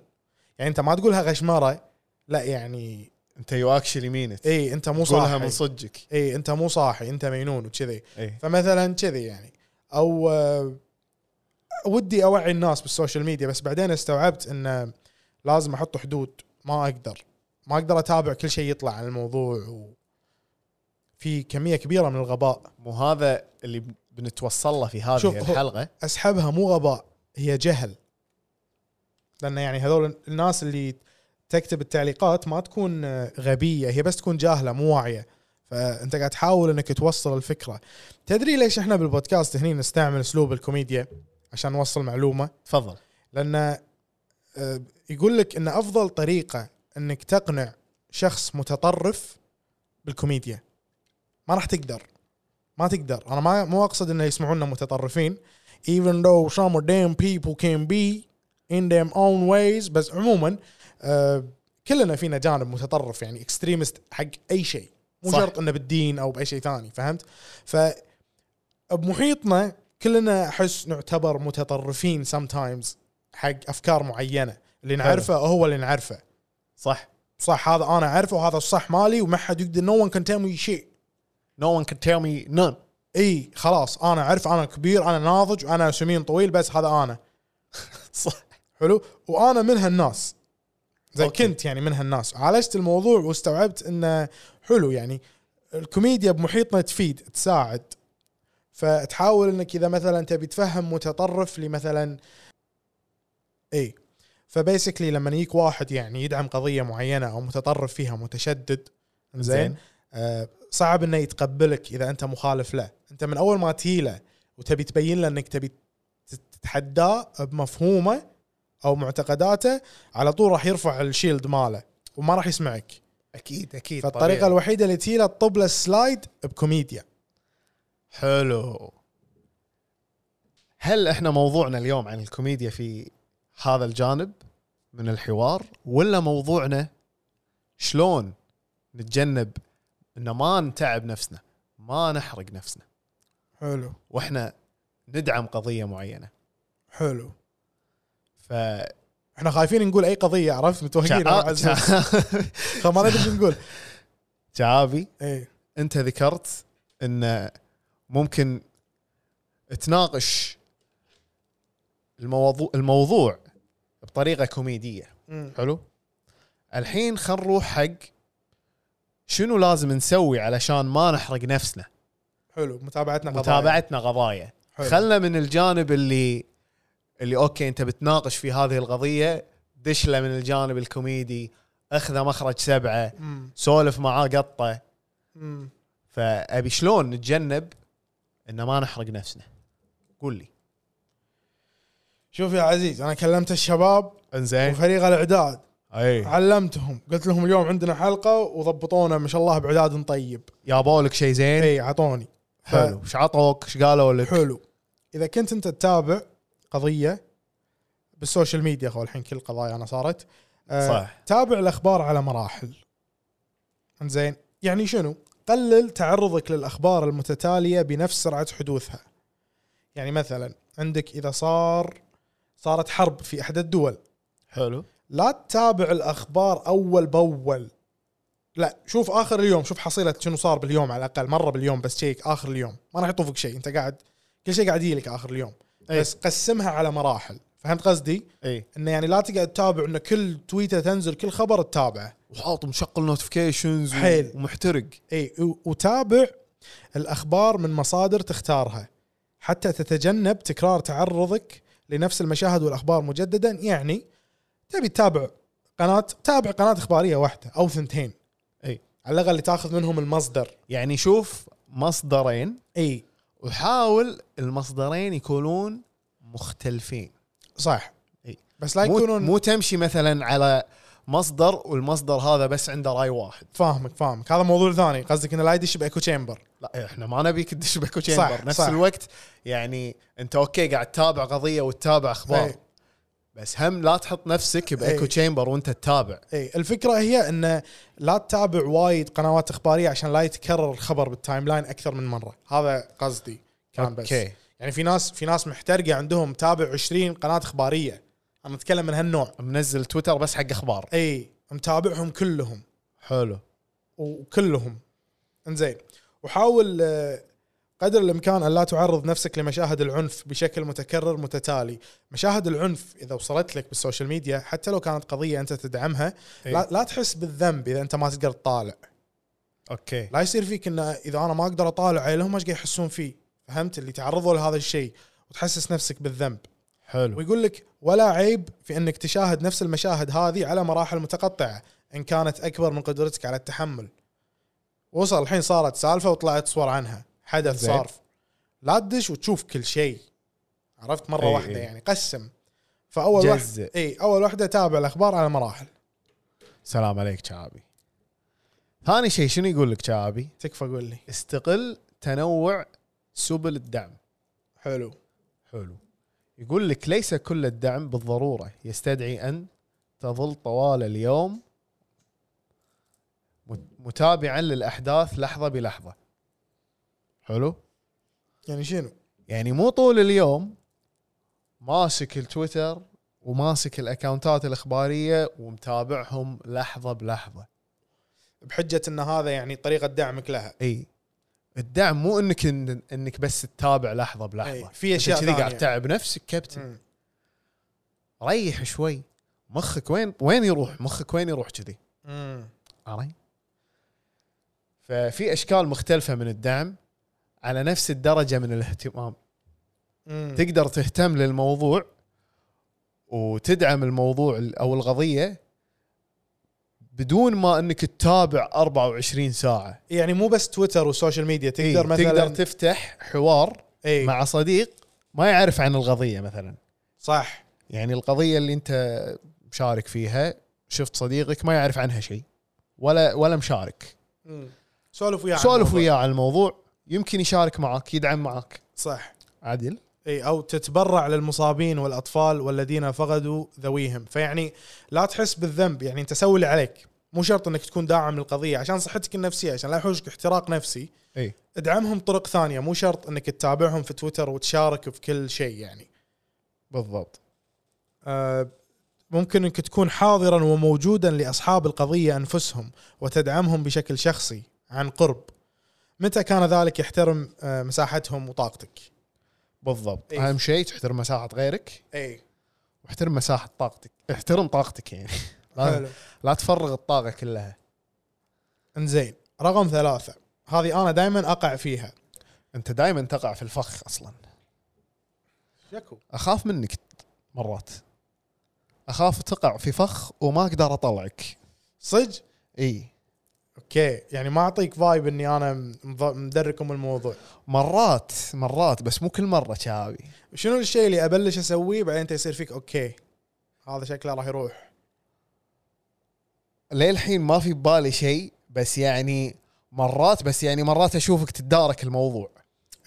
يعني انت ما تقولها غشمره لا يعني انت يو اكشلي مين ات اي انت مو قولها من صاحي صدقك اي انت إيه، مو صاحي انت مينون وكذي اي فمثلا كذي يعني او آه، ودي اوعي الناس بالسوشيال ميديا بس بعدين استوعبت ان لازم احط حدود ما اقدر ما اقدر اتابع كل شيء يطلع عن الموضوع و في كميه كبيره من الغباء مو هذا اللي ب- بنتوصل له في هذه شوف، هو- الحلقه اسحبها مو غباء هي جهل لان يعني هذول الناس اللي تكتب التعليقات ما تكون آه، غبيه هي بس تكون جاهله مو واعيه فانت قاعد تحاول انك توصل الفكره تدري ليش احنا بالبودكاست هني نستعمل اسلوب الكوميديا عشان نوصل معلومه تفضل لان آه، يقول لك ان افضل طريقه انك تقنع شخص متطرف بالكوميديا ما راح تقدر ما تقدر انا ما مو اقصد انه يسمعونا متطرفين even though some of them people can be in them own ways بس عموما آه، كلنا فينا جانب متطرف يعني اكستريمست حق اي شيء مو صح. شرط انه بالدين او باي شيء ثاني فهمت؟ ف بمحيطنا كلنا احس نعتبر متطرفين sometimes حق افكار معينه اللي نعرفه هو اللي نعرفه صح صح هذا انا اعرفه وهذا الصح مالي وما حد يقدر نو ون كان تيل مي شيء نو ون كان تيل مي نون اي خلاص انا اعرف انا كبير انا ناضج انا سمين طويل بس هذا انا صح حلو وانا من هالناس زي أوكي. أوكي. كنت يعني من هالناس عالجت الموضوع واستوعبت انه حلو يعني الكوميديا بمحيطنا تفيد تساعد فتحاول انك اذا مثلا تبي تفهم متطرف لمثلا اي فبيسكلي لما يجيك واحد يعني يدعم قضيه معينه او متطرف فيها متشدد زين زين آه، صعب انه يتقبلك اذا انت مخالف له انت من اول ما تهيله وتبي تبين له انك تبي تتحداه بمفهومه او معتقداته على طول راح يرفع الشيلد ماله وما راح يسمعك اكيد اكيد فالطريقه طبيعي. الوحيده اللي تهيله تطب له سلايد بكوميديا حلو هل احنا موضوعنا اليوم عن الكوميديا في هذا الجانب من الحوار ولا موضوعنا شلون نتجنب ان ما نتعب نفسنا ما نحرق نفسنا حلو واحنا ندعم قضيه معينه حلو ف احنا خايفين نقول اي قضيه عرفت متوهقين شعا- فما ندري شو نقول إيه، شعابي اي انت ذكرت ان ممكن تناقش الموضوع الموضوع بطريقه كوميديه مم. حلو الحين خل نروح حق شنو لازم نسوي علشان ما نحرق نفسنا حلو متابعتنا قضايا. متابعتنا قضايا حلو. خلنا من الجانب اللي اللي اوكي انت بتناقش في هذه القضيه دش له من الجانب الكوميدي اخذه مخرج سبعه مم. سولف معاه قطه مم. فابي شلون نتجنب ان ما نحرق نفسنا قول لي شوف يا عزيز انا كلمت الشباب انزين وفريق الاعداد اي علمتهم قلت لهم اليوم عندنا حلقه وضبطونا ما شاء الله باعداد طيب يابوا لك شيء زين اي عطوني ف- حلو ايش عطوك ايش قالوا لك إيه. حلو اذا كنت انت تتابع قضيه بالسوشيال ميديا خو الحين كل قضايا انا صارت آه، صح تابع الاخبار على مراحل زين يعني شنو قلل تعرضك للاخبار المتتاليه بنفس سرعه حدوثها يعني مثلا عندك اذا صار صارت حرب في احدى الدول حلو لا تتابع الاخبار اول باول لا شوف اخر اليوم شوف حصيله شنو صار باليوم على الاقل مره باليوم بس شيك اخر اليوم ما راح يطوفك شيء انت قاعد كل شيء قاعد يجيلك اخر اليوم أي. بس قسمها على مراحل فهمت قصدي؟ اي انه يعني لا تقعد تتابع انه كل تويته تنزل كل خبر تتابعه وحاط مشغل نوتيفيكيشنز حيل. ومحترق اي و- وتابع الاخبار إيه، من مصادر تختارها حتى تتجنب تكرار تعرضك لنفس المشاهد والاخبار مجددا يعني تبي تتابع قناه تابع قناه اخباريه واحده او ثنتين إيه، اي على الاقل اللي تاخذ منهم المصدر إيه، يعني شوف مصدرين اي وحاول المصدرين يكونون مختلفين صح إي. بس لا إيه. مو, يكونون مو تمشي مثلا على مصدر والمصدر هذا بس عنده راي واحد فاهمك فاهمك هذا موضوع ثاني قصدك انه لا يدش بايكو تشامبر لا احنا ما نبيك تدش باكو صح، تشامبر نفس صح. الوقت يعني انت اوكي قاعد تتابع قضيه وتتابع اخبار إي. بس هم لا تحط نفسك بايكو إي. تشامبر وانت تتابع اي الفكره إيه، هي انه لا تتابع وايد قنوات اخباريه عشان لا يتكرر الخبر بالتايم لاين اكثر من مره هذا قصدي كان بس أوكي. يعني في ناس في ناس محترقه عندهم تابع 20 قناه اخباريه انا اتكلم من هالنوع منزل تويتر بس حق اخبار اي متابعهم كلهم حلو وكلهم انزين وحاول آه، قدر الامكان الا تعرض نفسك لمشاهد العنف بشكل متكرر متتالي مشاهد العنف اذا وصلت لك بالسوشيال ميديا حتى لو كانت قضيه انت تدعمها إي. لا, لا تحس بالذنب اذا انت ما تقدر تطالع اوكي لا يصير فيك انه اذا انا ما اقدر اطالع عيلهم ايش قاعد يحسون فيه فهمت اللي تعرضوا لهذا الشيء وتحسس نفسك بالذنب حلو نعم. ويقول لك ولا عيب في انك تشاهد نفس المشاهد هذه على مراحل متقطعه ان كانت اكبر من قدرتك على التحمل وصل الحين صارت سالفه وطلعت صور عنها حدث زين. صار لا تدش وتشوف كل شيء عرفت مره إي واحده إي. يعني قسم فاول واحده جزء. اي اول واحده تابع الاخبار على مراحل سلام عليك شعابي ثاني شيء شنو يقول لك شعابي تكفى قول لي استقل تنوع سبل الدعم حلو حلو يقول لك ليس كل الدعم بالضرورة يستدعي أن تظل طوال اليوم مت- متابعا للأحداث لحظة بلحظة حلو يعني شنو يعني مو طول اليوم ماسك التويتر وماسك الأكاونتات الإخبارية ومتابعهم لحظة بلحظة بحجه ان هذا يعني طريقه دعمك لها اي الدعم مو انك إن انك بس تتابع لحظه أي، بلحظه في أشياء أنت كذي قاعد ثانية. تعب نفسك كابتن مم. ريح شوي مخك وين وين يروح مخك وين يروح كذي مم. عرفت ففي اشكال مختلفه من الدعم على نفس الدرجه من الاهتمام مم. تقدر تهتم للموضوع وتدعم الموضوع ال- او القضيه بدون ما انك تتابع 24 ساعه يعني مو بس تويتر والسوشيال ميديا تقدر إيه. إي، مثلا تقدر تفتح حوار اي مع صديق ما يعرف عن القضية مثلا صح يعني القضية اللي انت مشارك فيها شفت صديقك ما يعرف عنها شيء ولا ولا مشارك مم. سولف وياه عن سولف الموضوع. وياه عن الموضوع يمكن يشارك معك يدعم معك صح عادل اي او تتبرع للمصابين والاطفال والذين فقدوا ذويهم فيعني لا تحس بالذنب يعني انت سوي اللي عليك مو شرط انك تكون داعم للقضيه عشان صحتك النفسيه عشان لا يحوشك احتراق نفسي اي ادعمهم بطرق ثانيه مو شرط انك تتابعهم في تويتر وتشارك في كل شيء يعني بالضبط آه، ممكن انك تكون حاضرا وموجودا لاصحاب القضيه انفسهم وتدعمهم بشكل شخصي عن قرب متى كان ذلك يحترم آه، مساحتهم وطاقتك بالضبط إي. اهم شيء تحترم مساحة غيرك اي واحترم مساحة طاقتك احترم طاقتك يعني لا, حلو. لا تفرغ الطاقه كلها انزين رقم ثلاثة هذه أنا دائما أقع فيها انت دائما تقع في الفخ اصلا شكو اخاف منك مرات اخاف تقع في فخ وما اقدر اطلعك صج اي اوكي يعني ما اعطيك فايب اني انا مض- مدركم الموضوع مرات مرات بس مو كل مره شاوي شنو الشيء اللي ابلش اسويه بعدين انت يصير فيك اوكي هذا شكله راح يروح للحين ما في ببالي شيء بس يعني مرات بس يعني مرات اشوفك تدارك الموضوع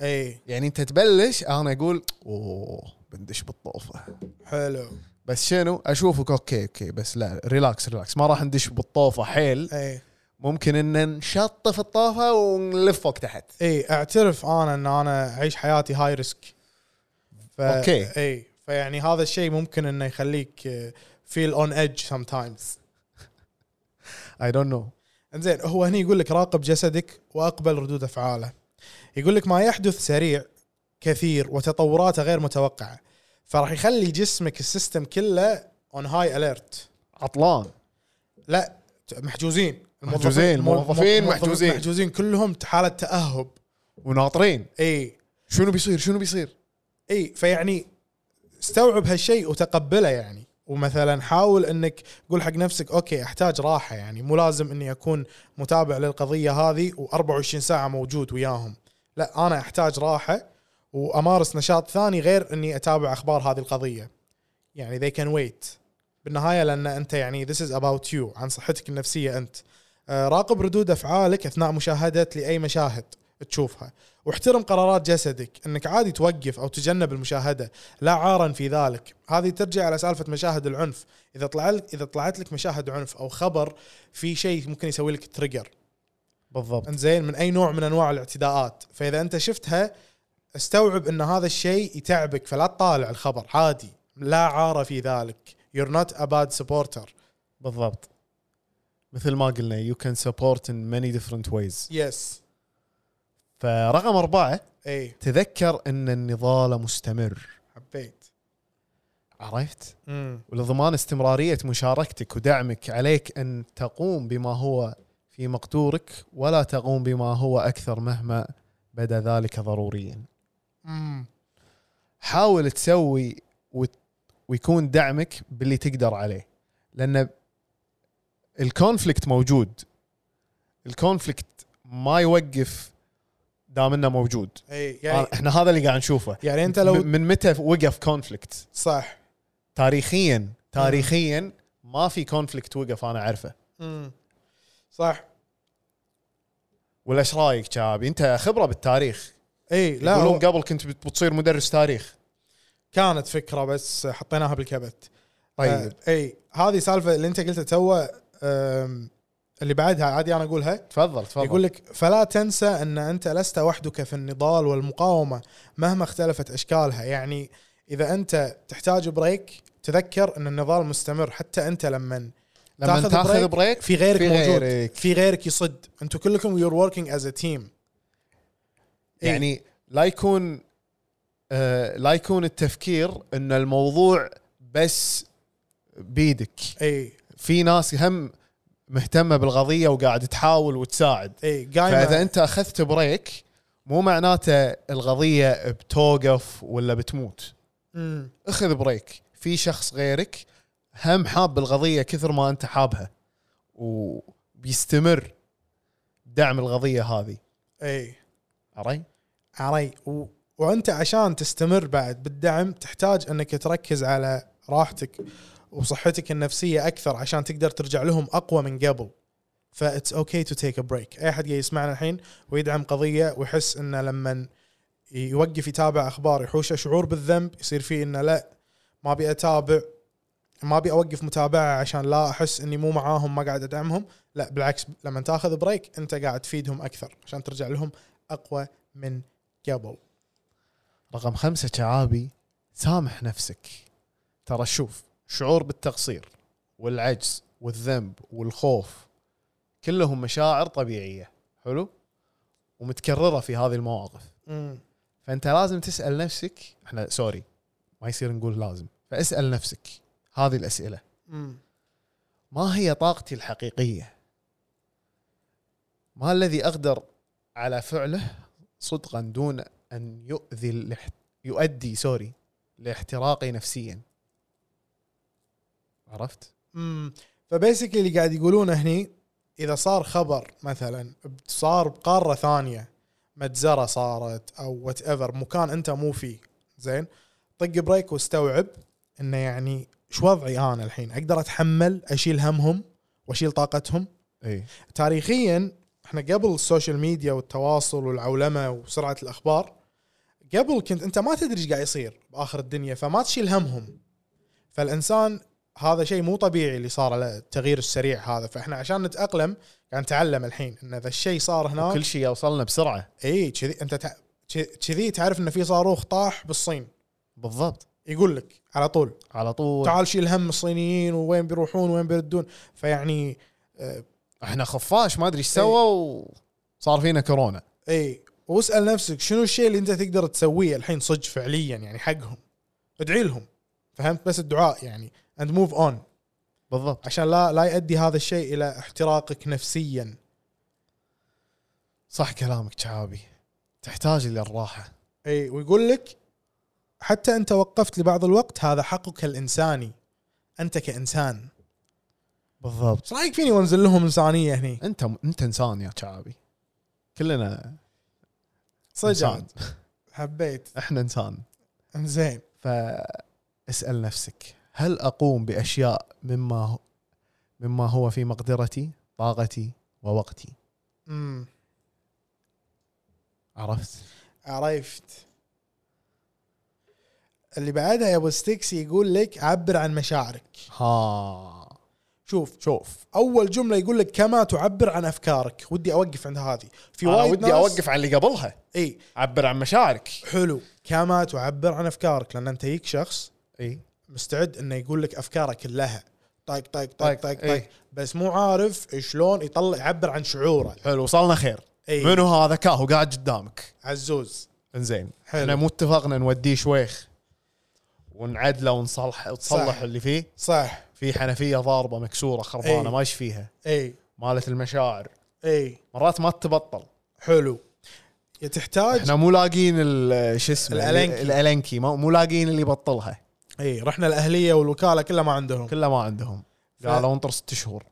اي يعني انت تبلش انا اقول اوه بندش بالطوفه حلو بس شنو اشوفك اوكي اوكي بس لا ريلاكس ريلاكس ما راح ندش بالطوفه حيل اي ممكن ان نشطف الطوفه ونلف فوق تحت اي اعترف انا ان انا اعيش حياتي هاي ريسك ف... أوكي. اي فيعني هذا الشيء ممكن انه يخليك فيل اون ايدج سم تايمز اي دونت نو انزين هو هنا يقول لك راقب جسدك واقبل ردود افعاله يقول لك ما يحدث سريع كثير وتطوراته غير متوقعه فراح يخلي جسمك السيستم كله اون هاي اليرت عطلان لا ت- محجوزين محجوزين، المو- الموظفين مو- موظفين محجوزين. محجوزين كلهم إيه. حاله تاهب وناطرين اي شنو بيصير شنو بيصير اي فيعني استوعب هالشيء وتقبله يعني ومثلا حاول انك قول حق نفسك اوكي احتاج راحه يعني مو لازم اني اكون متابع للقضيه هذه و24 ساعه موجود وياهم لا انا احتاج راحه وامارس نشاط ثاني غير اني اتابع اخبار هذه القضيه يعني they can wait بالنهايه لان انت يعني this is about you عن صحتك النفسيه انت آه، راقب ردود افعالك اثناء مشاهده لاي مشاهد تشوفها واحترم قرارات جسدك انك عادي توقف او تجنب المشاهده لا عارا في ذلك هذه ترجع على سالفه مشاهد العنف اذا طلع لك اذا طلعت لك مشاهد عنف او خبر في شيء ممكن يسوي لك تريجر بالضبط انزين من اي نوع من انواع الاعتداءات فاذا انت شفتها استوعب ان هذا الشيء يتعبك فلا تطالع الخبر عادي لا عار في ذلك you're not a bad supporter بالضبط مثل ما قلنا يو كان سبورت ان ماني ديفرنت ويز يس فرقم اربعه اي تذكر ان النضال مستمر حبيت عرفت؟ امم ولضمان استمراريه مشاركتك ودعمك عليك ان تقوم بما هو في مقدورك ولا تقوم بما هو اكثر مهما بدا ذلك ضروريا. امم حاول تسوي وت- ويكون دعمك باللي تقدر عليه لان الكونفليكت موجود الكونفليكت ما يوقف دام انه موجود اي يعني يعني احنا هذا اللي قاعد نشوفه يعني انت لو م- من متى وقف كونفليكت صح تاريخيا تاريخيا ما في كونفليكت وقف انا اعرفه امم صح ولا ايش رايك شعبي انت خبره بالتاريخ اي إيه، لا يقولون هو قبل كنت بت- بتصير مدرس تاريخ كانت فكره بس حطيناها بالكبت طيب آه اي هذه سالفه اللي انت قلتها تو آم، اللي بعدها عادي انا اقولها تفضل تفضل يقول لك فلا تنسى ان انت لست وحدك في النضال والمقاومه مهما اختلفت اشكالها يعني اذا انت تحتاج بريك تذكر ان النضال مستمر حتى انت لما لما تاخذ تاخذ بريك بريك في غيرك في في موجود غيرك. غيرك. في غيرك يصد انتم كلكم يور وركينج از ا تيم إيه. يعني لا يكون آه لا يكون التفكير ان الموضوع بس بيدك اي في ناس هم مهتمه بالقضيه وقاعد تحاول وتساعد اي فاذا قايمه انت اخذت بريك مو معناته القضيه بتوقف ولا بتموت مم. اخذ بريك في شخص غيرك هم حاب القضيه كثر ما انت حابها وبيستمر دعم القضيه هذه اي علي علي و... وانت عشان تستمر بعد بالدعم تحتاج انك تركز على راحتك وصحتك النفسيه اكثر عشان تقدر ترجع لهم اقوى من قبل فاتس اوكي تو تيك ا بريك اي احد قاعد يسمعنا الحين ويدعم قضيه ويحس انه لما يوقف يتابع اخبار يحوشه شعور بالذنب يصير فيه انه لا ما ابي اتابع ما ابي اوقف متابعه عشان لا احس اني مو معاهم ما قاعد ادعمهم لا بالعكس لما تاخذ بريك انت قاعد تفيدهم اكثر عشان ترجع لهم اقوى من قبل رقم خمسة شعابي سامح نفسك ترى شوف شعور بالتقصير والعجز والذنب والخوف كلهم مشاعر طبيعية حلو ومتكررة في هذه المواقف امم فانت لازم تسال نفسك احنا سوري ما يصير نقول لازم فاسال نفسك هذه الاسئله ما هي طاقتي الحقيقيه ما الذي اقدر على فعله صدقا دون ان يؤذي الاح- يؤدي سوري لاحتراقي نفسيا عرفت امم فبيسكلي اللي قاعد يقولونه هني اذا صار خبر مثلا ب- صار بقاره ثانيه مجزره صارت او وات ايفر مكان انت مو فيه زين طق بريك واستوعب انه يعني شو وضعي انا الحين اقدر اتحمل اشيل همهم واشيل طاقتهم اي تاريخيا احنا قبل السوشيال ميديا والتواصل والعولمه وسرعه الاخبار قبل كنت انت ما تدري ايش قاعد يصير باخر الدنيا فما تشيل همهم فالانسان هذا شيء مو طبيعي اللي صار له التغيير السريع هذا فاحنا عشان نتاقلم قاعد نتعلم الحين ان اذا الشيء صار هناك كل شيء وصلنا بسرعه اي كذي انت تع- ج- كذي تعرف ان في صاروخ طاح بالصين بالضبط يقول لك على طول على طول تعال شيل هم الصينيين ووين بيروحون وين بيردون فيعني احنا خفاش ما ادري ايش سوى وصار فينا كورونا اي واسال نفسك شنو الشيء اللي انت تقدر تسويه الحين صدق فعليا يعني حقهم ادعي لهم فهمت بس الدعاء يعني اند موف اون بالضبط عشان لا لا يؤدي هذا الشيء الى احتراقك نفسيا صح كلامك شعابي تحتاج الى الراحه اي ويقول لك حتى انت وقفت لبعض الوقت هذا حقك الانساني انت كانسان بالضبط ايش رايك فيني وانزل لهم انسانيه هني انت انت انسان يا شعابي كلنا صدق انسان حبيت احنا انسان انزين فاسال نفسك هل اقوم باشياء مما هو مما هو في مقدرتي طاقتي ووقتي امم عرفت عرفت اللي بعدها يا ابو ستيكس يقول لك عبر عن مشاعرك ها شوف شوف اول جمله يقول لك كما تعبر عن افكارك ودي اوقف عند هذه في انا وايد ودي ناس- اوقف عن اللي قبلها اي عبر عن مشاعرك حلو كما تعبر عن افكارك لان انت يك شخص اي مستعد انه يقول لك افكاره كلها طاق طاق طاق طاق، طاق إي. طاق بس مو عارف شلون يطلع يعبر عن شعوره حلو وصلنا خير إي. منو هذا كاهو قاعد قدامك عزوز انزين حلو. احنا مو اتفقنا نوديه شويخ ونعدله ونصلح صح. تصلح اللي فيه صح في حنفيه ضاربه مكسوره خربانه إي. ما ايش فيها اي مالت المشاعر اي مرات ما تبطل حلو تحتاج احنا مو لاقين ال- شو اسمه الألنكي. الالنكي مو مو لاقين اللي يبطلها اي رحنا الاهليه والوكاله كلها ما عندهم كله ما عندهم ف- قالوا انطر ست شهور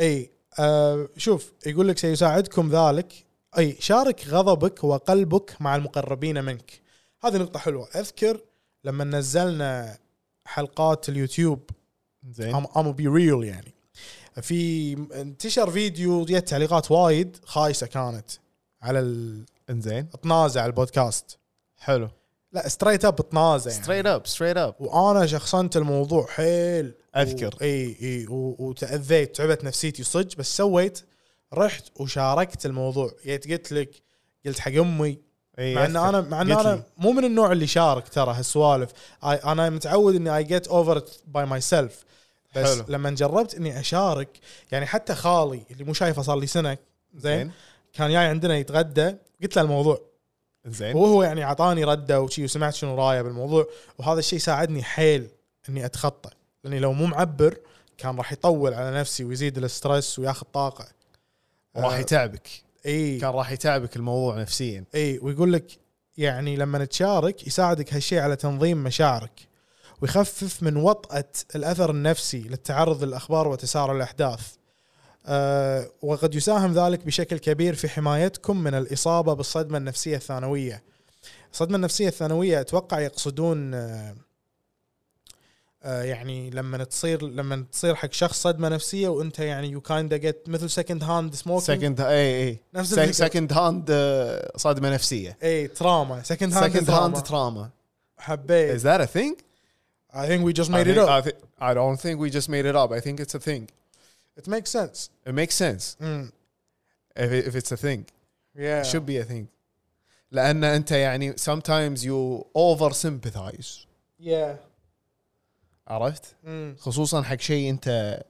اي آه شوف يقول لك سيساعدكم ذلك اي شارك غضبك وقلبك مع المقربين منك هذه نقطة حلوة اذكر لما نزلنا حلقات اليوتيوب زين ام ام بي ريل يعني في انتشر فيديو جت تعليقات وايد خايسة كانت على ال- انزين تنازع على البودكاست حلو لا ستريت اب تنازع يعني. ستريت اب ستريت اب وانا شخصنت الموضوع حيل طيب. أذكر. و... اي اي و... وتاذيت تعبت نفسيتي صدق بس سويت رحت وشاركت الموضوع جيت قلت لك قلت حق امي مع ان انا مع ان انا مو من النوع اللي شارك ترى هالسوالف I- انا متعود اني اي جيت اوفر باي ماي سيلف بس حلو. حلو. لما جربت اني اشارك يعني حتى خالي اللي مو شايفه صار لي سنه زين زين كان جاي عندنا يتغدى قلت له الموضوع زين وهو يعني اعطاني رده وشي وسمعت شنو رايه بالموضوع وهذا الشيء ساعدني حيل اني اتخطى لاني لو مو معبر كان راح يطول على نفسي ويزيد الاسترس وياخذ طاقه آه. وراح يتعبك اي كان راح يتعبك الموضوع نفسيا اي إيه، ويقول لك يعني لما تشارك يساعدك هالشيء على تنظيم مشاعرك ويخفف من وطأة الأثر النفسي للتعرض للأخبار وتسارع الأحداث أه وقد يساهم ذلك بشكل كبير في حمايتكم من الإصابة بالصدمة النفسية الثانوية الصدمة النفسية الثانوية أتوقع يقصدون أه أه يعني لما تصير لما تصير حق شخص صدمة نفسية وأنت يعني يو كايندا جيت مثل سكند هاند سموكينج سكند اي اي نفس الفكرة. سكند هاند صدمه نفسيه اي تراما سكند هاند سكند تراما هاند تراما حبيت Is that a thing? I think we just I made it think- up. I, thi- I don't think we just made it up. I think it's a thing. It makes sense. It makes sense Mm. if, it, if it's a thing. Yeah. It should be a thing. لأن أنت يعني sometimes you over sympathize Yeah. عرفت؟ Mm. خصوصا حق شيء أنت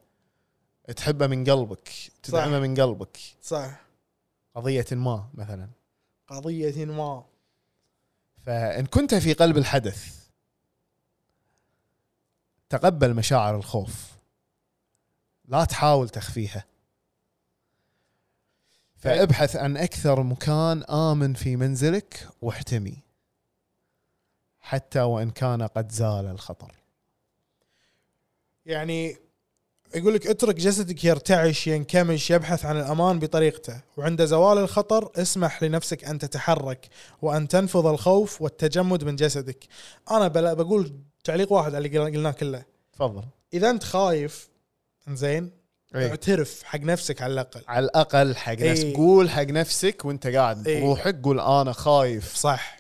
تحبه من قلبك تدعمه من قلبك صح. قضية ما مثلا قضية ما. فإن كنت في قلب الحدث تقبل مشاعر الخوف لا تحاول تخفيها فابحث عن اكثر مكان امن في منزلك واحتمي حتى وان كان قد زال الخطر يعني يقول لك اترك جسدك يرتعش ينكمش يبحث عن الامان بطريقته وعند زوال الخطر اسمح لنفسك ان تتحرك وان تنفض الخوف والتجمد من جسدك انا بلا- بقول تعليق واحد على اللي قل- قلناه كله تفضل اذا انت خايف زين إيه. اعترف حق نفسك على الاقل على الاقل حق نفسك إيه. قول حق نفسك وانت قاعد إيه. بروحك قول انا خايف صح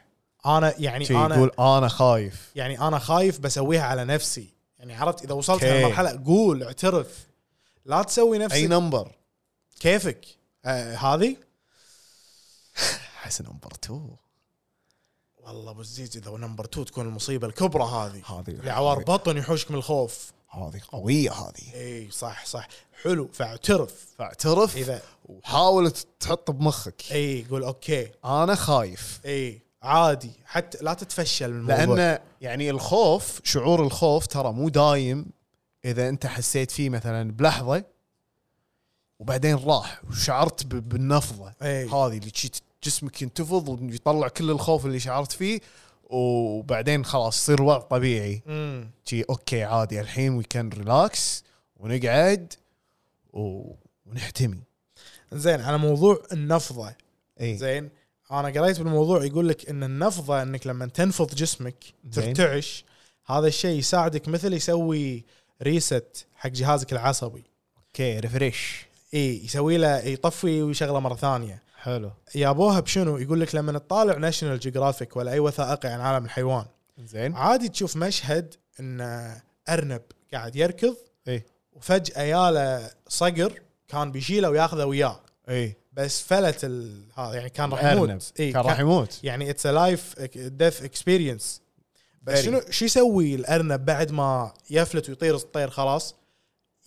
انا يعني شي، انا قول انا خايف يعني انا خايف بسويها على نفسي يعني عرفت اذا وصلت أوكي. هالمرحله قول اعترف لا تسوي نفسك اي نمبر كيفك آه هذه احس نمبر 2 والله ابو الزيز اذا نمبر 2 تكون المصيبه الكبرى هذه هذه العوار بطن يحوشك من الخوف هذه قويه هذه اي صح صح حلو فاعترف فاعترف إذا- وحاول تحط بمخك اي قول اوكي انا خايف اي عادي حتى لا تتفشل من الموضوع لان يعني الخوف شعور الخوف ترى مو دايم اذا انت حسيت فيه مثلا بلحظه وبعدين راح وشعرت ب- بالنفضه إي. هذه اللي شي جسمك ينتفض ويطلع كل الخوف اللي شعرت فيه وبعدين خلاص يصير وضع طبيعي امم شي اوكي عادي الحين وي كان ريلاكس ونقعد و... ونحتمي زين على موضوع النفضه اي زين انا قريت بالموضوع يقول لك ان النفضه انك لما تنفض جسمك زين. ترتعش هذا الشيء يساعدك مثل يسوي ريست حق جهازك العصبي اوكي ريفريش اي يسوي له يطفي ويشغله مره ثانيه حلو يابوها بشنو يقول لك لما تطالع ناشونال جيوغرافيك ولا اي وثائقي عن عالم الحيوان زين عادي تشوف مشهد ان ارنب قاعد يركض إيه. وفجاه ياله صقر كان بيشيله وياخذه وياه اي بس فلت ال... هذا يعني كان راح ارنب يموت إيه كان إيه. راح يموت يعني اتس لايف ديث اكسبيرينس بس Very. شنو شو يسوي الارنب بعد ما يفلت ويطير الطير خلاص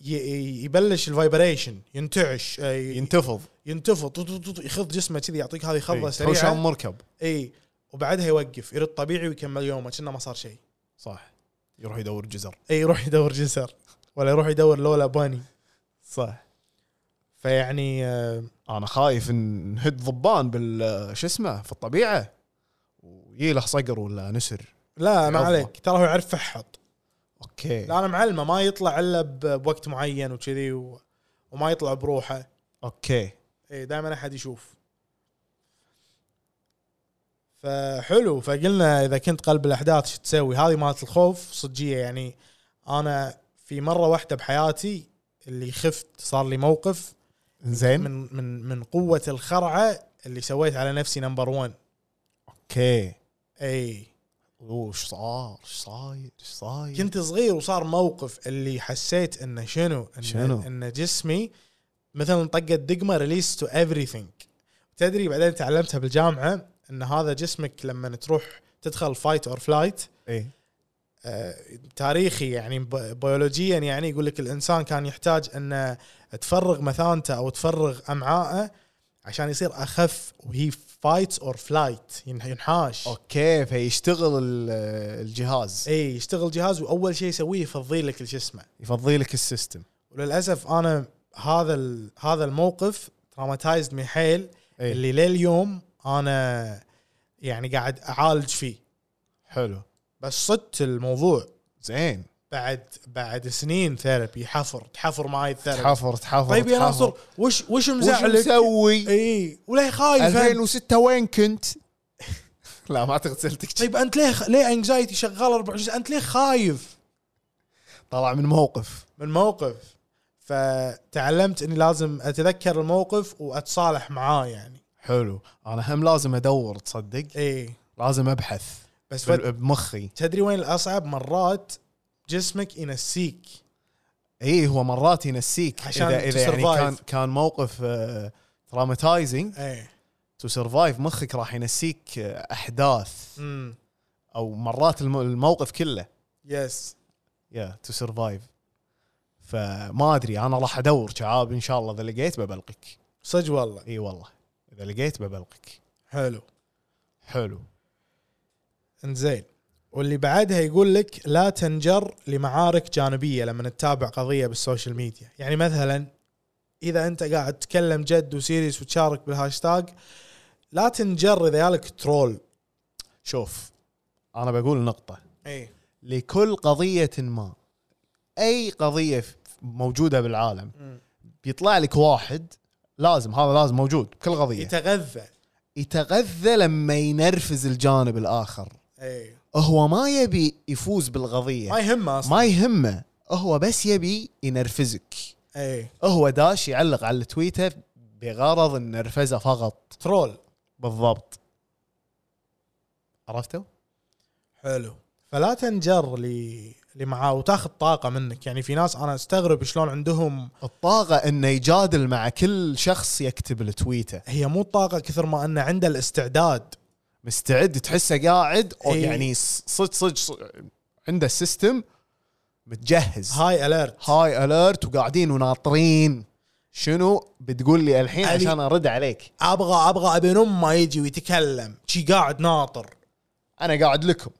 ي- ي- يبلش الفايبريشن ينتعش آه، ي- ينتفض ينتفض طو- طو- طو- طو- يخض جسمه كذي يعطيك هذه خضه إي، تحوشه سريعه مركب اي وبعدها يوقف يرد طبيعي ويكمل يومه كأنه ما صار شيء صح يروح يدور جزر اي يروح يدور جسر ولا يروح يدور لولا باني صح فيعني آه، انا خايف إن نهد ضبان بال شو اسمه في الطبيعه ويله صقر ولا نسر لا ما يلا. عليك ترى هو يعرف فحط اوكي لا انا معلمه ما يطلع الا ب- بوقت معين وكذي و... وما يطلع بروحه اوكي اي دائما احد يشوف فحلو فقلنا اذا كنت قلب الاحداث شو تسوي هذه مالت الخوف صجيه يعني انا في مره واحده بحياتي اللي خفت صار لي موقف زين من من من قوه الخرعه اللي سويت على نفسي إيه. نمبر 1 اوكي اي وش صار ايش صاير ايش صاير إيه. كنت صغير وصار موقف اللي حسيت انه شنو إن شنو؟ ان جسمي مثلا طقت دقمه ريليس تو everything تدري بعدين تعلمتها بالجامعه ان هذا جسمك لما تروح تدخل فايت اور فلايت اي آه، تاريخي يعني ب- بيولوجيا يعني يقول لك الانسان كان يحتاج انه تفرغ مثانته او تفرغ امعائه عشان يصير اخف وهي فايت اور فلايت ينحاش اوكي فيشتغل ال- الجهاز اي إيه، يشتغل جهاز واول شيء يسويه يفضي لك الجسم يفضي لك السيستم وللاسف انا هذا ال- هذا الموقف تراماتايزد من حيل إيه. اللي لليوم انا يعني قاعد اعالج فيه حلو بس صدت الموضوع زين بعد بعد سنين ثيرابي حفر تحفر معي الثيرابي تحفر تحفر طيب يا تحفر. ناصر وش وش وش مزعلك؟ مسوي اي وليه خايف أنت؟ 2006 وين كنت لا ما اعتقد سالتك طيب انت ليه ليه انكزايتي شغال 24 ساعه انت ليه خايف طلع من موقف من موقف فتعلمت اني لازم اتذكر الموقف واتصالح معاه يعني حلو انا هم لازم ادور تصدق اي لازم ابحث بس فت... بال- بمخي تدري وين الاصعب مرات جسمك ينسيك اي هو مرات ينسيك عشان اذا اذا يعني تسرفايف. كان كان موقف آه، تراماتايزنج ايه تو سرفايف مخك راح ينسيك آه، احداث امم او مرات الم- الموقف كله يس يا تو سرفايف فما ادري انا راح ادور شعاب ان شاء الله اذا لقيت ببلقك صدق والله اي والله اذا لقيت ببلقك حلو حلو انزين واللي بعدها يقول لك لا تنجر لمعارك جانبيه لما تتابع قضيه بالسوشيال ميديا يعني مثلا اذا انت قاعد تتكلم جد وسيريس وتشارك بالهاشتاج لا تنجر اذا يالك ترول شوف انا بقول نقطه اي لكل قضيه ما اي قضيه ف- موجوده بالعالم بيطلع لك واحد لازم هذا لازم موجود بكل قضيه يتغذى يتغذى لما ينرفز الجانب الاخر اي هو ما يبي يفوز بالقضيه إيه. ما يهمه اصلا ما يهمه هو بس يبي ينرفزك اي هو داش يعلق على تويتر بغرض النرفزه فقط ترول بالضبط عرفتوا؟ حلو فلا تنجر ل لمعاه وتاخذ طاقه منك يعني في ناس انا استغرب شلون عندهم الطاقة انه يجادل مع كل شخص يكتب لتويته هي مو طاقه كثر ما انه عنده الاستعداد مستعد تحسه قاعد أو إيه. يعني ص- صدق صدق صدق عنده السيستم متجهز هاي اليرت هاي اليرت وقاعدين وناطرين شنو بتقول لي الحين علي. عشان ارد عليك ابغى ابغى ابن امه يجي ويتكلم شي قاعد ناطر انا قاعد لكم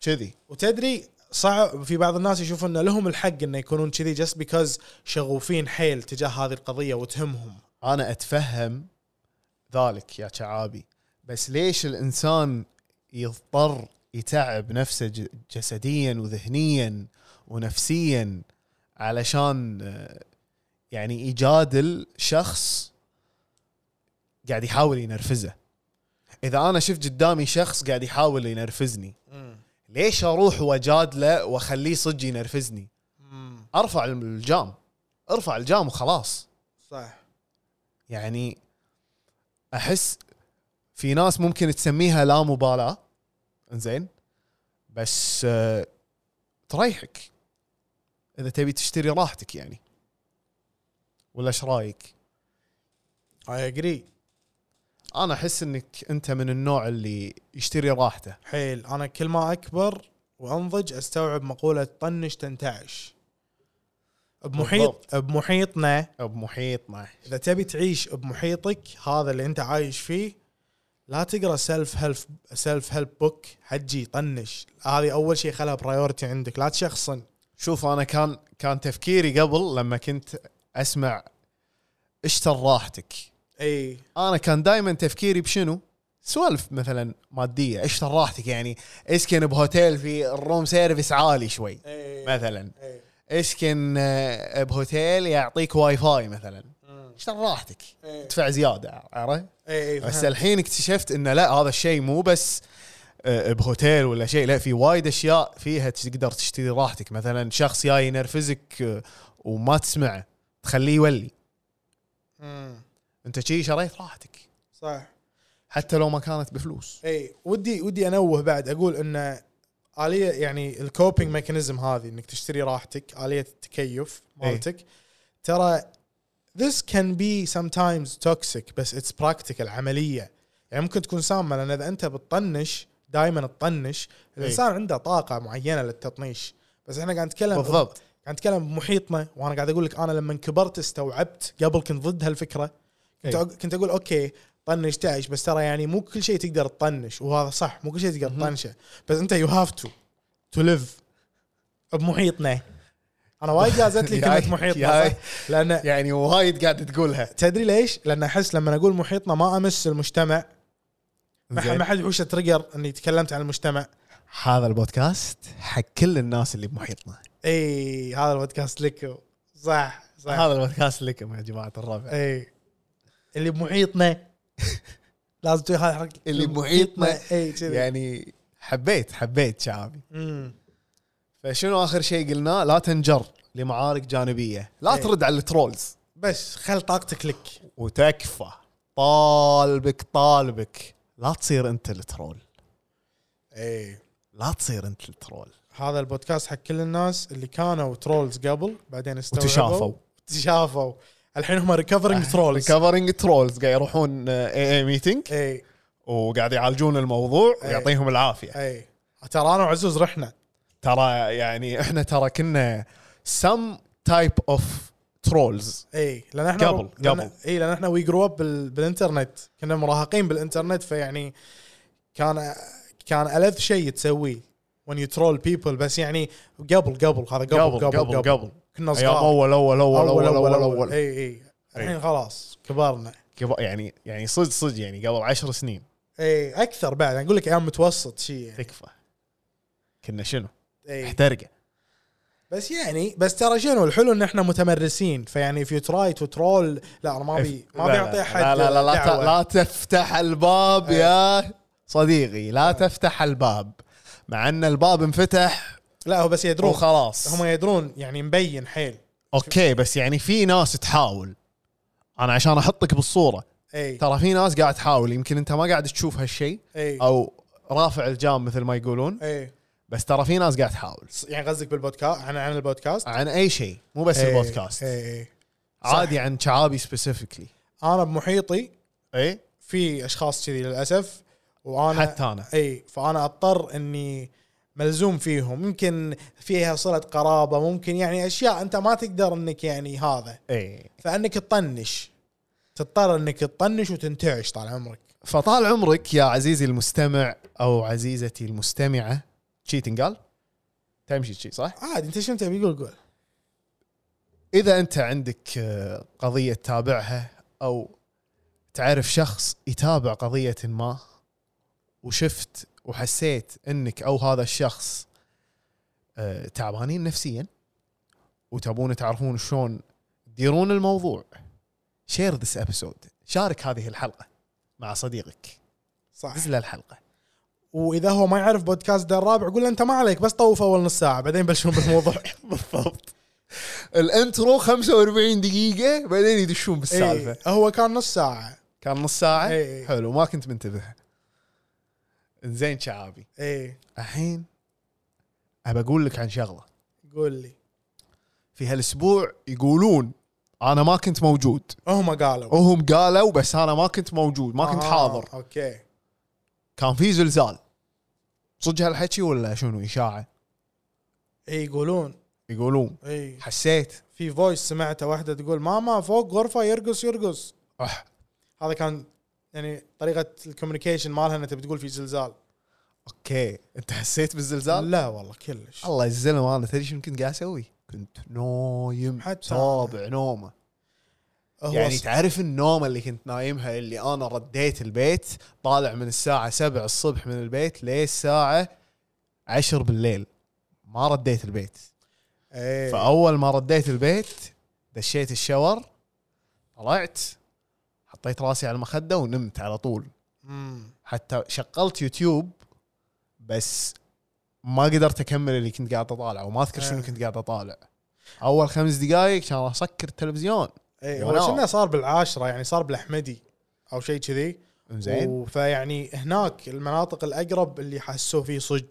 كذي وتدري صعب في بعض الناس يشوف انه لهم الحق انه يكونون كذي جست بيكوز شغوفين حيل تجاه هذه القضيه وتهمهم انا اتفهم ذلك يا شعابي بس ليش الانسان يضطر يتعب نفسه ج- جسديا وذهنيا ونفسيا علشان آه، يعني يجادل شخص قاعد يحاول ينرفزه اذا انا شفت قدامي شخص قاعد يحاول ينرفزني ليش اروح واجادله واخليه صدق ينرفزني ارفع الجام ارفع الجام وخلاص صح يعني احس في ناس ممكن تسميها لا مبالاه انزين بس آه، تريحك اذا تبي تشتري راحتك يعني ولا ايش رايك؟ اي اجري انا احس انك انت من النوع اللي يشتري راحته حيل انا كل ما اكبر وانضج استوعب مقوله طنش تنتعش بمحيط بالضبط. بمحيطنا بمحيطنا اذا تبي تعيش بمحيطك هذا اللي انت عايش فيه لا تقرا سيلف هيلف سيلف هيلب بوك حجي طنش هذه اول شيء خلها برايورتي عندك لا تشخصن شوف انا كان كان تفكيري قبل لما كنت اسمع اشتر راحتك اي انا كان دائما تفكيري بشنو؟ سوالف مثلا ماديه اشتر راحتك يعني اسكن بهوتيل في الروم سيرفيس عالي شوي إيه. مثلا اي اسكن آه، بهوتيل يعطيك واي فاي مثلا اشتر راحتك إيه. ادفع زياده عرفت؟ اي بس فهمت. الحين اكتشفت انه لا هذا الشيء مو بس آه، بهوتيل ولا شيء لا في وايد اشياء فيها تقدر تشتري راحتك مثلا شخص جاي ينرفزك آه، وما تسمعه تخليه يولي مم. انت شي شريت راحتك صح حتى لو ما كانت بفلوس اي ودي ودي انوه بعد اقول ان اليه يعني الكوبينج ميكانيزم هذه انك تشتري راحتك اليه التكيف مالتك ترى this can be sometimes toxic بس it's practical عمليه يعني ممكن تكون سامه لان اذا انت بتطنش دائما تطنش إيه. الانسان عنده طاقه معينه للتطنيش بس احنا قاعد نتكلم بالضبط. قاعد نتكلم بمحيطنا وانا قاعد اقول لك انا لما كبرت استوعبت قبل كنت ضد هالفكره كنت إي. أق- كنت اقول اوكي طنش تعيش بس ترى يعني مو كل شيء تقدر تطنش وهذا صح مو كل شيء تقدر تطنشه بس انت يو هاف تو تو ليف بمحيطنا انا وايد جازت لي ياي- كلمه محيطنا ياي. صح؟ لان يعني وايد قاعد تقولها تدري ليش؟ لان احس لما اقول محيطنا ما امس المجتمع ما ح- زين. ما حد يحوشه تريجر اني تكلمت عن المجتمع هذا البودكاست حق كل الناس اللي بمحيطنا اي هذا البودكاست لك صح صح هذا البودكاست لكم يا جماعه الربع اي اللي بمحيطنا لازم تسوي هذه الحركه اللي بمحيطنا. اي كذي يعني حبيت حبيت شعبي مم. فشنو اخر شيء قلناه لا تنجر لمعارك جانبيه لا إيه. ترد على الترولز بس خل طاقتك لك وتكفى طالبك طالبك لا تصير انت الترول إيه. اي لا تصير انت الترول هذا البودكاست حق كل الناس اللي كانوا ترولز قبل بعدين استوعبوا وتشافوا تشافوا الحين هم ريكفرنج ترولز ريكفرنج ترولز قاعد يروحون اي اي ميتنج اي وقاعد يعالجون الموضوع إيه. ويعطيهم العافيه اي ترى انا وعزوز رحنا ترى يعني احنا ترى كنا some type of trolls اي لان احنا قبل- إيه، لأن- قبل. اي لان احنا وي جرو اب بالانترنت كنا مراهقين بالانترنت فيعني كان كان الذ شيء تسويه when you troll people بس يعني قبل قبل هذا قبل قبل قبل قبل, قبل. قبل كنا ايام صغار اول اول اول اول اول اول اي اي إيه، الحين خلاص كبرنا قبل- يعني يعني صدق صدق يعني قبل عشر سنين اي اكثر إيه، بعد اقول لك ايام متوسط شيء يعني. تكفى كنا شنو؟ إي. احترقه بس يعني بس ترى شنو الحلو ان احنا متمرسين فيعني if you try to troll لا انا ما ابي إيه. إيه. لا، ما ابي لا، اعطي احد لا لا لا لا, دعوة. ت- إيه. لا تفتح الباب يا صديقي لا تفتح الباب مع ان الباب انفتح لا هو بس يدرون وخلاص هم يدرون يعني مبين حيل اوكي بس يعني في ناس تحاول انا عشان احطك بالصوره اي ترى في ناس قاعد تحاول يمكن انت ما قاعد تشوف هالشيء اي او رافع الجام مثل ما يقولون اي بس ترى في ناس قاعد تحاول ص- إيه. يعني قصدك بالبودكاست عن عن البودكاست إيه، عن اي شيء مو بس إي، البودكاست اي اي عادي عن شعابي سبيسيفيكلي انا بمحيطي اي في اشخاص كذي إيه، للاسف وانا حتى انا اي فانا اضطر اني ملزوم فيهم ممكن فيها صله قرابه ممكن يعني اشياء انت ما تقدر انك يعني هذا اي فانك تطنش تضطر انك تطنش وتنتعش طال عمرك فطال عمرك يا عزيزي المستمع او عزيزتي المستمعه شي تنقال تمشي شي صح عادي انت شنو تبي قول قول اذا انت عندك آه، قضيه تتابعها او تعرف شخص يتابع قضيه ما وشفت وحسيت انك او هذا الشخص آه، تعبانين نفسيا وتبون تعرفون شلون تديرون الموضوع شير ذس ابيسود شارك هذه الحلقه مع صديقك صح دز له الحلقه واذا هو ما يعرف بودكاست ده الرابع قول له انت ما عليك بس طوف اول نص ساعه بعدين بلشون بالموضوع بالضبط الانترو 45 دقيقه بعدين يدشون بالسالفه إيه هو كان نص ساعه كان نص ساعة إي. حلو ما كنت منتبه زين شعابي اي الحين ابى اقول لك عن شغلة قول لي في هالاسبوع يقولون انا ما كنت موجود هم قالوا وهم قالوا بس انا ما كنت موجود ما كنت آه، حاضر اوكي كان في زلزال صدق هالحكي ولا شنو اشاعة اي إيه، يقولون يقولون اي حسيت في فويس سمعته واحده تقول ماما فوق غرفه يرقص يرقص أح هذا كان يعني طريقه الكوميونيكيشن مالها انها تبي تقول في زلزال اوكي انت حسيت بالزلزال لا والله كلش الله الزلمة انا تدري شنو كنت قاعد اسوي كنت نايم حتى تابع نومه هو يعني ص- تعرف النومة اللي كنت نايمها اللي أنا رديت البيت طالع من الساعة 7 الصبح من البيت للساعة 10 بالليل ما رديت البيت إيه. فأول ما رديت البيت دشيت الشاور طلعت حطيت راسي على المخدة ونمت على طول أمم. حتى شغلت يوتيوب بس ما قدرت أكمل اللي كنت قاعد أطالعه وما أذكر شنو آه. كنت قاعد أطالع أول خمس دقايق كان أسكر التلفزيون اي ونام. هو إيه، شنو صار بالعاشره يعني صار بالاحمدي او شيء كذي زين و- فيعني هناك المناطق الاقرب اللي حسوا فيه صج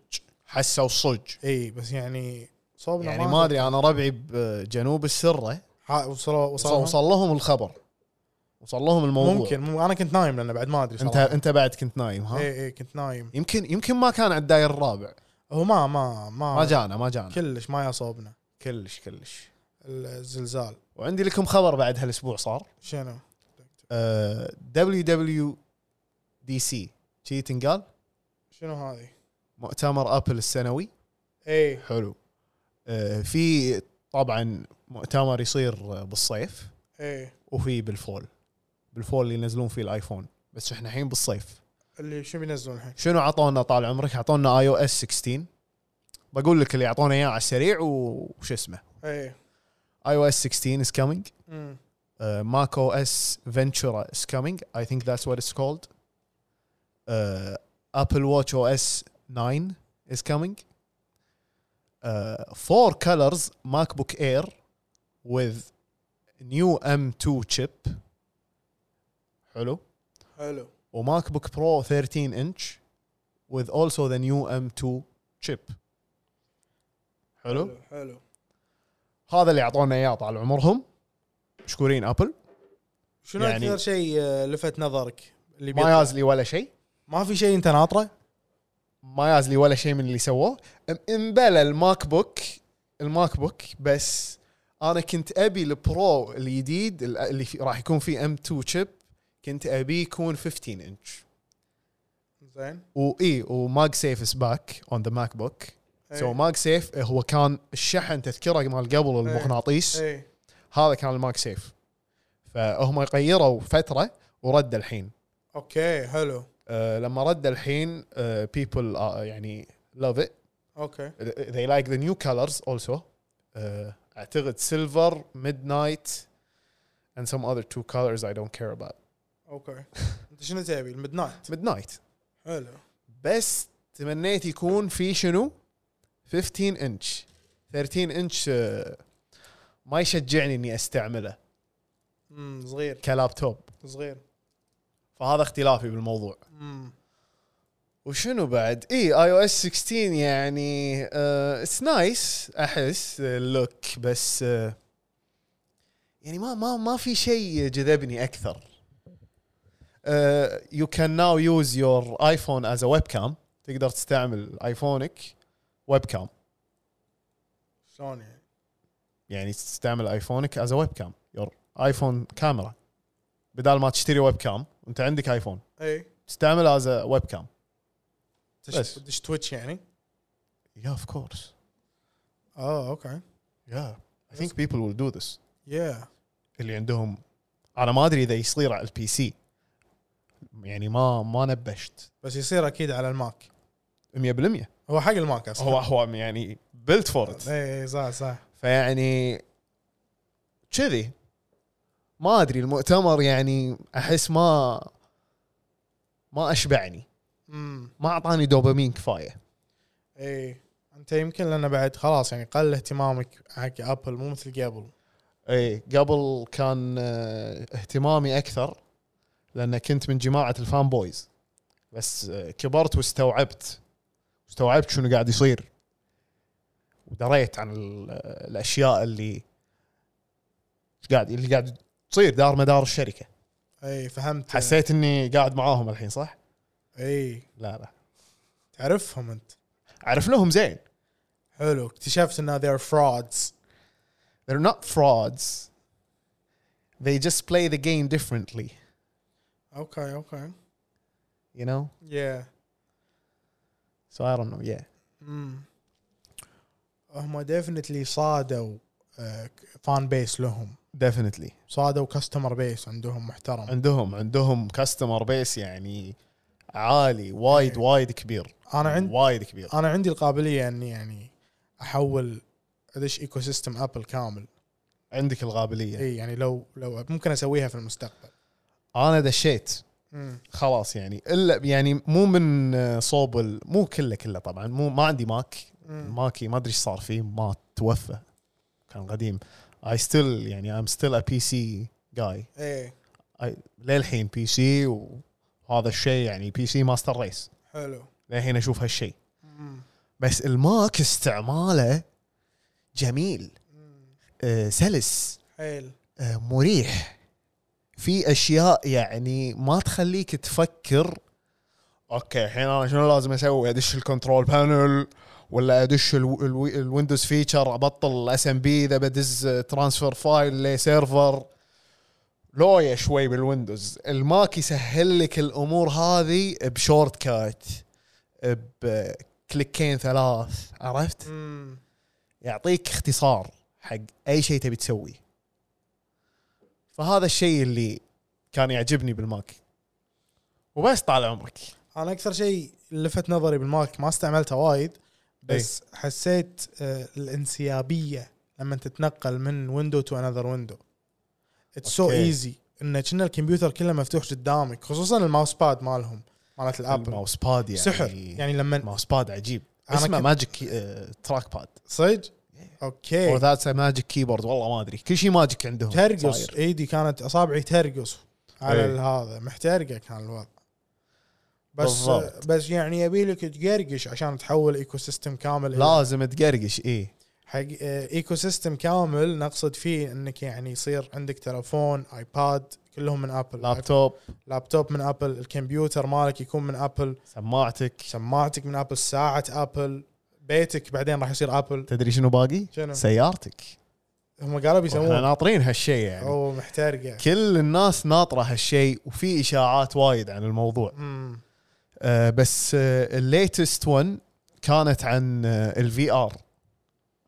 حسوا صج اي بس يعني صوبنا يعني ما ادري انا ربعي بجنوب السره ح- وصلوا وصل, وصلوا وصل لهم الخبر وصل لهم الموضوع ممكن مم- انا كنت نايم لانه بعد ما ادري انت صراحة. إيه. انت بعد كنت نايم ها اي اي كنت نايم يمكن يمكن ما كان على الداير الرابع هو ما ما ما, ما جانا ما جانا كلش ما يصوبنا كلش كلش الزلزال وعندي لكم خبر بعد هالاسبوع صار آه، شنو؟ دبليو دبليو دي سي شي تنقال شنو هذه؟ مؤتمر ابل السنوي اي حلو آه، في طبعا مؤتمر يصير بالصيف اي وفي بالفول بالفول اللي ينزلون فيه الايفون بس احنا الحين بالصيف اللي شو بينزلون الحين؟ شنو عطونا طال عمرك؟ عطونا اي او اس 16 بقول لك اللي اعطونا اياه على السريع و- وش اسمه اي اي او اس 16 از كامينج أمم. ماك او اس فينتشورا از كامينج اي ثينك ذاتس وات اتس كولد Uh, ابل واتش او اس 9 از كامينج Uh, فور كلرز ماك بوك اير وذ نيو ام 2 تشيب حلو حلو وماك بوك برو 13 انش with also the new M2 chip حلو حلو هذا اللي اعطونا اياه طال عمرهم مشكورين ابل شنو يعني- اكثر شيء آه، لفت نظرك؟ اللي ما بيطلع؟ يازلي ولا شيء ما في شيء انت ناطره؟ ما يازلي ولا شيء من اللي سووه ام- امبلى الماك بوك الماك بوك بس انا كنت ابي البرو الجديد ال- اللي في- راح يكون فيه M2 chip كنت ابيه يكون 15 انش زين إيه، واي وماج سيف از باك اون ذا ماك بوك سو ماج سيف إيه، هو كان الشحن تذكره مال قبل المغناطيس اي هذا كان الماج سيف فهم غيروا فتره ورد الحين اوكي حلو أه لما رد الحين بيبل يعني لاف ات اوكي they like the new colors also أه اعتقد سيلفر ميد نايت and some other two colors I don't care about اوكي انت شنو تبي الميد نايت ميد نايت حلو بس تمنيت يكون في شنو 15 انش 13 انش آه، ما يشجعني اني استعمله امم صغير كلابتوب صغير فهذا اختلافي بالموضوع امم وشنو بعد اي اي او اس 16 يعني اتس نايس احس اللوك بس آه، يعني ما ما ما في شيء جذبني آه، اكثر يو كان ناو يوز يور ايفون از ا ويب كام تقدر تستعمل ايفونك ويب كام شلون يعني يعني تستعمل ايفونك از ويب كام يور ايفون كاميرا بدال ما تشتري ويب كام انت عندك ايفون اي تستعمل از ويب كام تش- بس. تدش تويتش يعني يا اوف كورس آه، اه اوكي يا اي ثينك بيبل ويل دو ذس يا اللي عندهم انا ما ادري اذا يصير على البي سي يعني ما ما نبشت بس يصير اكيد على الماك 100% هو حق الماك اصلا هو هو يعني بيلت فور ات اي اي صح صح فيعني كذي ما ادري المؤتمر يعني احس ما ما اشبعني امم ما اعطاني دوبامين كفايه اي انت يمكن لان بعد خلاص يعني قل اهتمامك حق ابل مو مثل قبل اي قبل كان آه، اهتمامي اكثر لان كنت من جماعه الفان بويز بس آه، كبرت واستوعبت استوعبت شنو قاعد يصير ودريت عن ال- آه، الاشياء اللي إيش قاعد اللي قاعد تصير دار مدار الشركه اي فهمت حسيت اني قاعد معاهم الحين صح اي لا لا تعرفهم انت عرفناهم زين حلو اكتشفت انه they're frauds they're not frauds they just play the game differently اوكي اوكي you know yeah so I don't know yeah امم هم ديفنتلي صادوا فان بيس لهم definitely صادوا كاستمر بيس عندهم محترم عندهم عندهم كاستمر بيس يعني عالي وايد وايد كبير انا عندي وايد كبير انا عندي القابليه اني يعني احول ادش ايكو سيستم ابل كامل عندك القابليه اي يعني لو لو ممكن اسويها في المستقبل انا دشيت امم خلاص يعني الا يعني مو من آه، صوب ال- مو كله كله طبعا مو ما عندي ماك ماكي ما ادري ايش صار فيه ما توفى كان قديم اي ستيل يعني ام ستيل ا بي سي جاي ايه للحين بي سي وهذا الشيء يعني بي سي ماستر ريس حلو للحين اشوف هالشيء بس الماك استعماله جميل آه، سلس حيل آه، مريح في اشياء يعني ما تخليك تفكر اوكي الحين انا شنو لازم اسوي ادش الكنترول بانل ولا ادش الو- الو- الويندوز فيتشر ابطل الاس ام بي اذا بدز آه، ترانسفير فايل لسيرفر لويا شوي بالويندوز الماك يسهل لك الامور هذه بشورت كات بكليكين ثلاث عرفت؟ امم يعطيك اختصار حق اي شيء تبي تسويه فهذا الشيء اللي كان يعجبني بالماك وبس طال عمرك انا اكثر شيء لفت نظري بالماك ما استعملته وايد إيه. بس حسيت آه، الانسيابيه لما تتنقل من ويندو تو انذر ويندو اتس سو أوكي. ايزي ان كنا الكمبيوتر كله مفتوح قدامك خصوصا الماوس باد مالهم مالت الابل الماوس باد يعني سحر يعني لما ماوس باد عجيب أنا اسمه كنت- ماجيك آه، تراك باد صدق اور اوكي ذاتس ماجيك كيبورد والله ما ادري كل شيء ماجيك عندهم إيه. ترقص صاير. إيه. ايدي كانت اصابعي ترقص على إي. هذا محترقه كان الوضع بس بالضبط. بس يعني يبي لك تقرقش عشان تحول ايكو سيستم كامل إلى لازم تقرقش ايه حق ايكو سيستم كامل نقصد فيه انك يعني يصير عندك تلفون ايباد كلهم من ابل لابتوب لابتوب من ابل الكمبيوتر مالك يكون من ابل سماعتك سماعتك من ابل ساعه ابل بيتك بعدين راح يصير ابل تدري شنو باقي؟ شنو؟ سيارتك هم قالوا احنا بيسوون ناطرين هالشيء يعني او محترقه كل الناس ناطره هالشيء وفي اشاعات وايد عن الموضوع امم آه، بس الليتست 1 كانت عن آه، الفي ار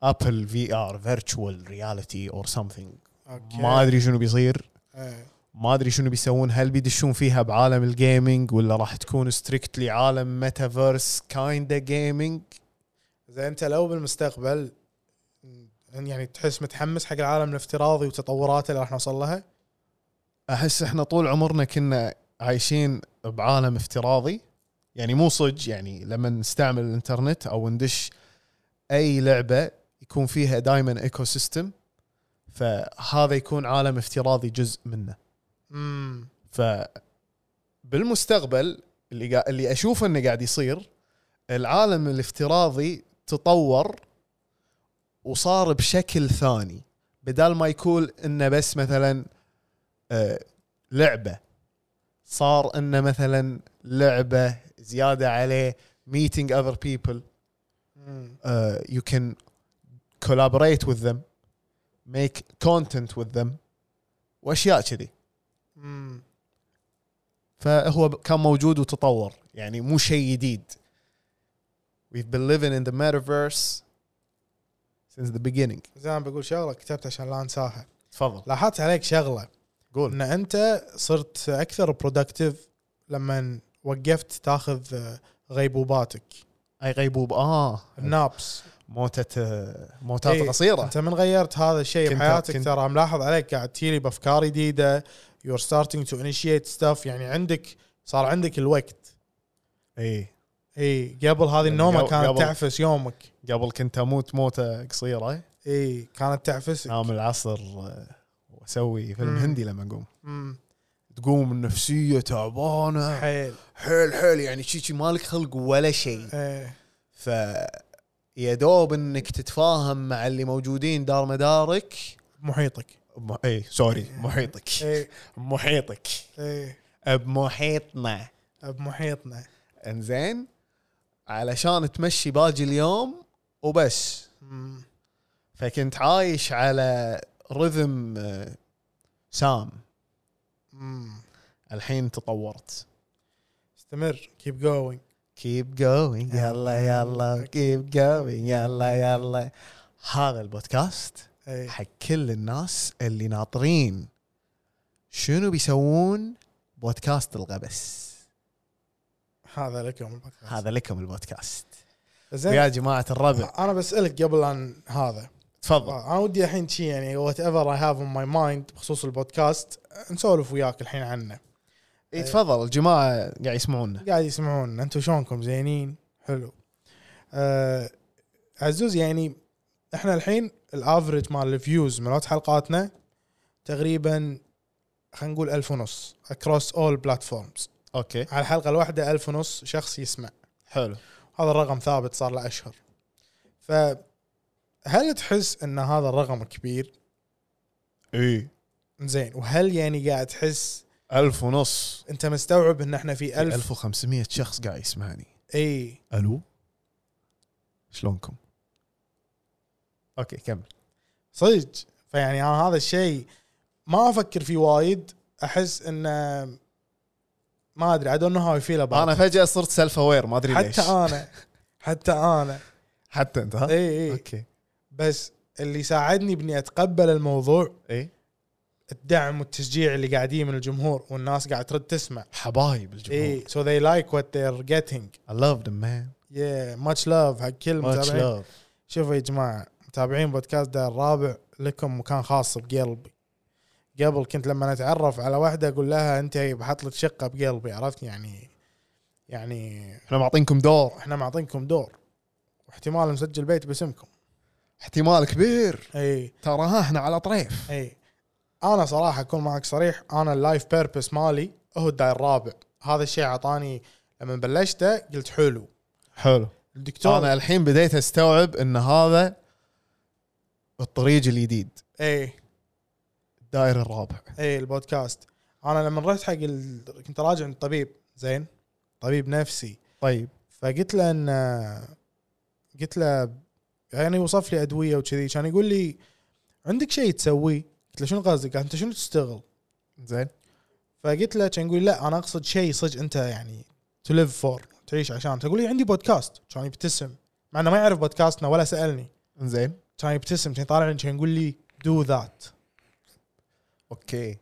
ابل في ار فيرتشوال رياليتي اور سمثينج اوكي ما ادري شنو بيصير إيه. ما ادري شنو بيسوون هل بيدشون فيها بعالم الجيمنج ولا راح تكون ستريكتلي عالم ميتافيرس كايندا جيمنج زين انت لو بالمستقبل يعني تحس متحمس حق العالم الافتراضي وتطوراته اللي راح نوصل لها احس احنا طول عمرنا كنا عايشين بعالم افتراضي يعني مو صج يعني لما نستعمل الانترنت او ندش اي لعبه يكون فيها دائما ايكو سيستم فهذا يكون عالم افتراضي جزء منه امم ف بالمستقبل اللي قا... اللي اشوفه انه قاعد يصير العالم الافتراضي تطور وصار بشكل ثاني بدال ما يكون انه بس مثلا آه لعبه صار انه مثلا لعبه زياده عليه meeting other people امم uh, you can collaborate with them make content with them واشياء كذي امم فهو ب- كان موجود وتطور يعني مو شيء جديد we've been living in the metaverse since the beginning زين بقول شغله كتبتها عشان لا انساها تفضل لاحظت عليك شغله قول ان انت صرت اكثر برودكتيف لما وقفت تاخذ آه، غيبوباتك اي غيبوب اه النابس موتة آه، موتات آه. إيه، قصيرة انت من غيرت هذا الشيء كنت- بحياتك كنت- ترى ملاحظ عليك قاعد تجيلي بافكار جديده يور ستارتنج تو انيشيت ستاف يعني عندك صار عندك الوقت اي اي قبل هذه النومه يعني قبل- كانت قبل- تعفس يومك قبل كنت اموت موتة قصيرة اي كانت تعفسك نام العصر آه، واسوي فيلم مم. هندي لما اقوم أمم، تقوم النفسية تعبانة حيل حيل حيل يعني شي شي مالك خلق ولا شيء إيه. ف يا دوب انك تتفاهم مع اللي موجودين دار مدارك محيطك م... اي إيه، سوري محيطك اي محيطك اي بمحيطنا بمحيطنا انزين علشان تمشي باقي اليوم وبس أمم، فكنت عايش على رذم آه، سام أمم. الحين تطورت استمر كيب جوينج كيب جوينج يلا يلا كيب جوينج يلا يلا هذا البودكاست اي حق كل الناس اللي ناطرين شنو بيسوون بودكاست الغبس هذا لكم البودكاست. هذا لكم البودكاست زين آه. ويا جماعه الربع انا بسالك قبل ان هذا تفضل انا ودي الحين شي يعني وات ايفر اي هاف اون ماي مايند بخصوص البودكاست نسولف وياك الحين عنه اي إيه، تفضل الجماعه قاعد يسمعونا قاعد يسمعون انتم شلونكم زينين حلو آه عزوز يعني احنا الحين الافرج مال الفيوز مالت حلقاتنا تقريبا خلينا نقول ألف ونص اكروس اول بلاتفورمز اوكي على الحلقه الواحده ألف ونص شخص يسمع حلو هذا الرقم ثابت صار له اشهر فهل تحس ان هذا الرقم كبير اي زين وهل يعني قاعد تحس ألف ونص انت مستوعب ان احنا في ألف 1000 1500 شخص قاعد يسمعني اي الو شلونكم اوكي كمل صدق فيعني انا هذا الشيء ما افكر فيه وايد احس انه ما ادري عاد انه هاي فيل انا فجاه صرت سيلف اوير ما ادري ليش حتى انا حتى انا حتى انت ها اي اي اوكي بس اللي ساعدني باني اتقبل الموضوع اي الدعم والتشجيع اللي قاعدين من الجمهور والناس قاعد ترد تسمع حبايب الجمهور اي سو ذي لايك وات they're getting I love them man yeah much love حق كل much المتابعين love شوفوا يا جماعة متابعين بودكاست دار الرابع لكم مكان خاص بقلبي قبل كنت لما اتعرف على واحدة اقول لها انت بحط لك شقة بقلبي عرفت يعني يعني احنا معطينكم دور احنا معطينكم دور واحتمال نسجل بيت باسمكم احتمال كبير اي ترى ها احنا على طريف اي انا إيه. صراحة اكون معك صريح انا اللايف بيربس مالي هو الداير الرابع هذا الشيء عطاني لما بلشته قلت حلو حلو الدكتور انا الحين بديت استوعب ان هذا الطريق الجديد اي الدائرة الرابع اي إيه، البودكاست انا لما رحت حق ال... كنت راجع عند الطبيب زين طبيب نفسي طيب فقلت له ان قلت له يعني وصف لي ادويه وكذي كان يقول لي عندك شيء تسويه قلت له شنو قصدك قال انت شنو تشتغل زين فقلت له كان يقول لي لا انا اقصد شيء صدق انت يعني تو ليف فور تعيش عشان تقول لي عندي بودكاست كان يبتسم مع انه ما يعرف بودكاستنا ولا سالني زين كان يبتسم كان يطالعني كان يقول لي دو ذات اوكي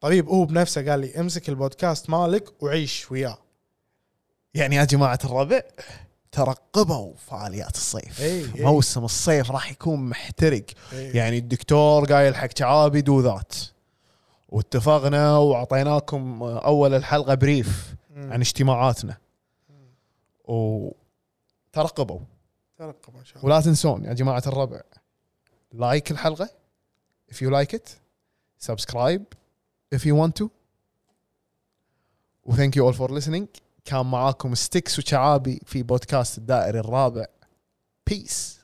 طبيب هو بنفسه قال لي امسك البودكاست مالك وعيش وياه يعني يا جماعه الربع ترقبوا فعاليات الصيف إي، إي. موسم الصيف راح يكون محترق إيه. يعني الدكتور قايل حق شعابي دو ذات واتفقنا واعطيناكم اول الحلقه بريف مم. عن اجتماعاتنا وترقبوا ترقب ان شاء الله ولا تنسون يا جماعه الربع لايك الحلقه if you like it subscribe if you want to وثانك يو اول فور listening كان معاكم ستيكس وشعابي في بودكاست الدائري الرابع بيس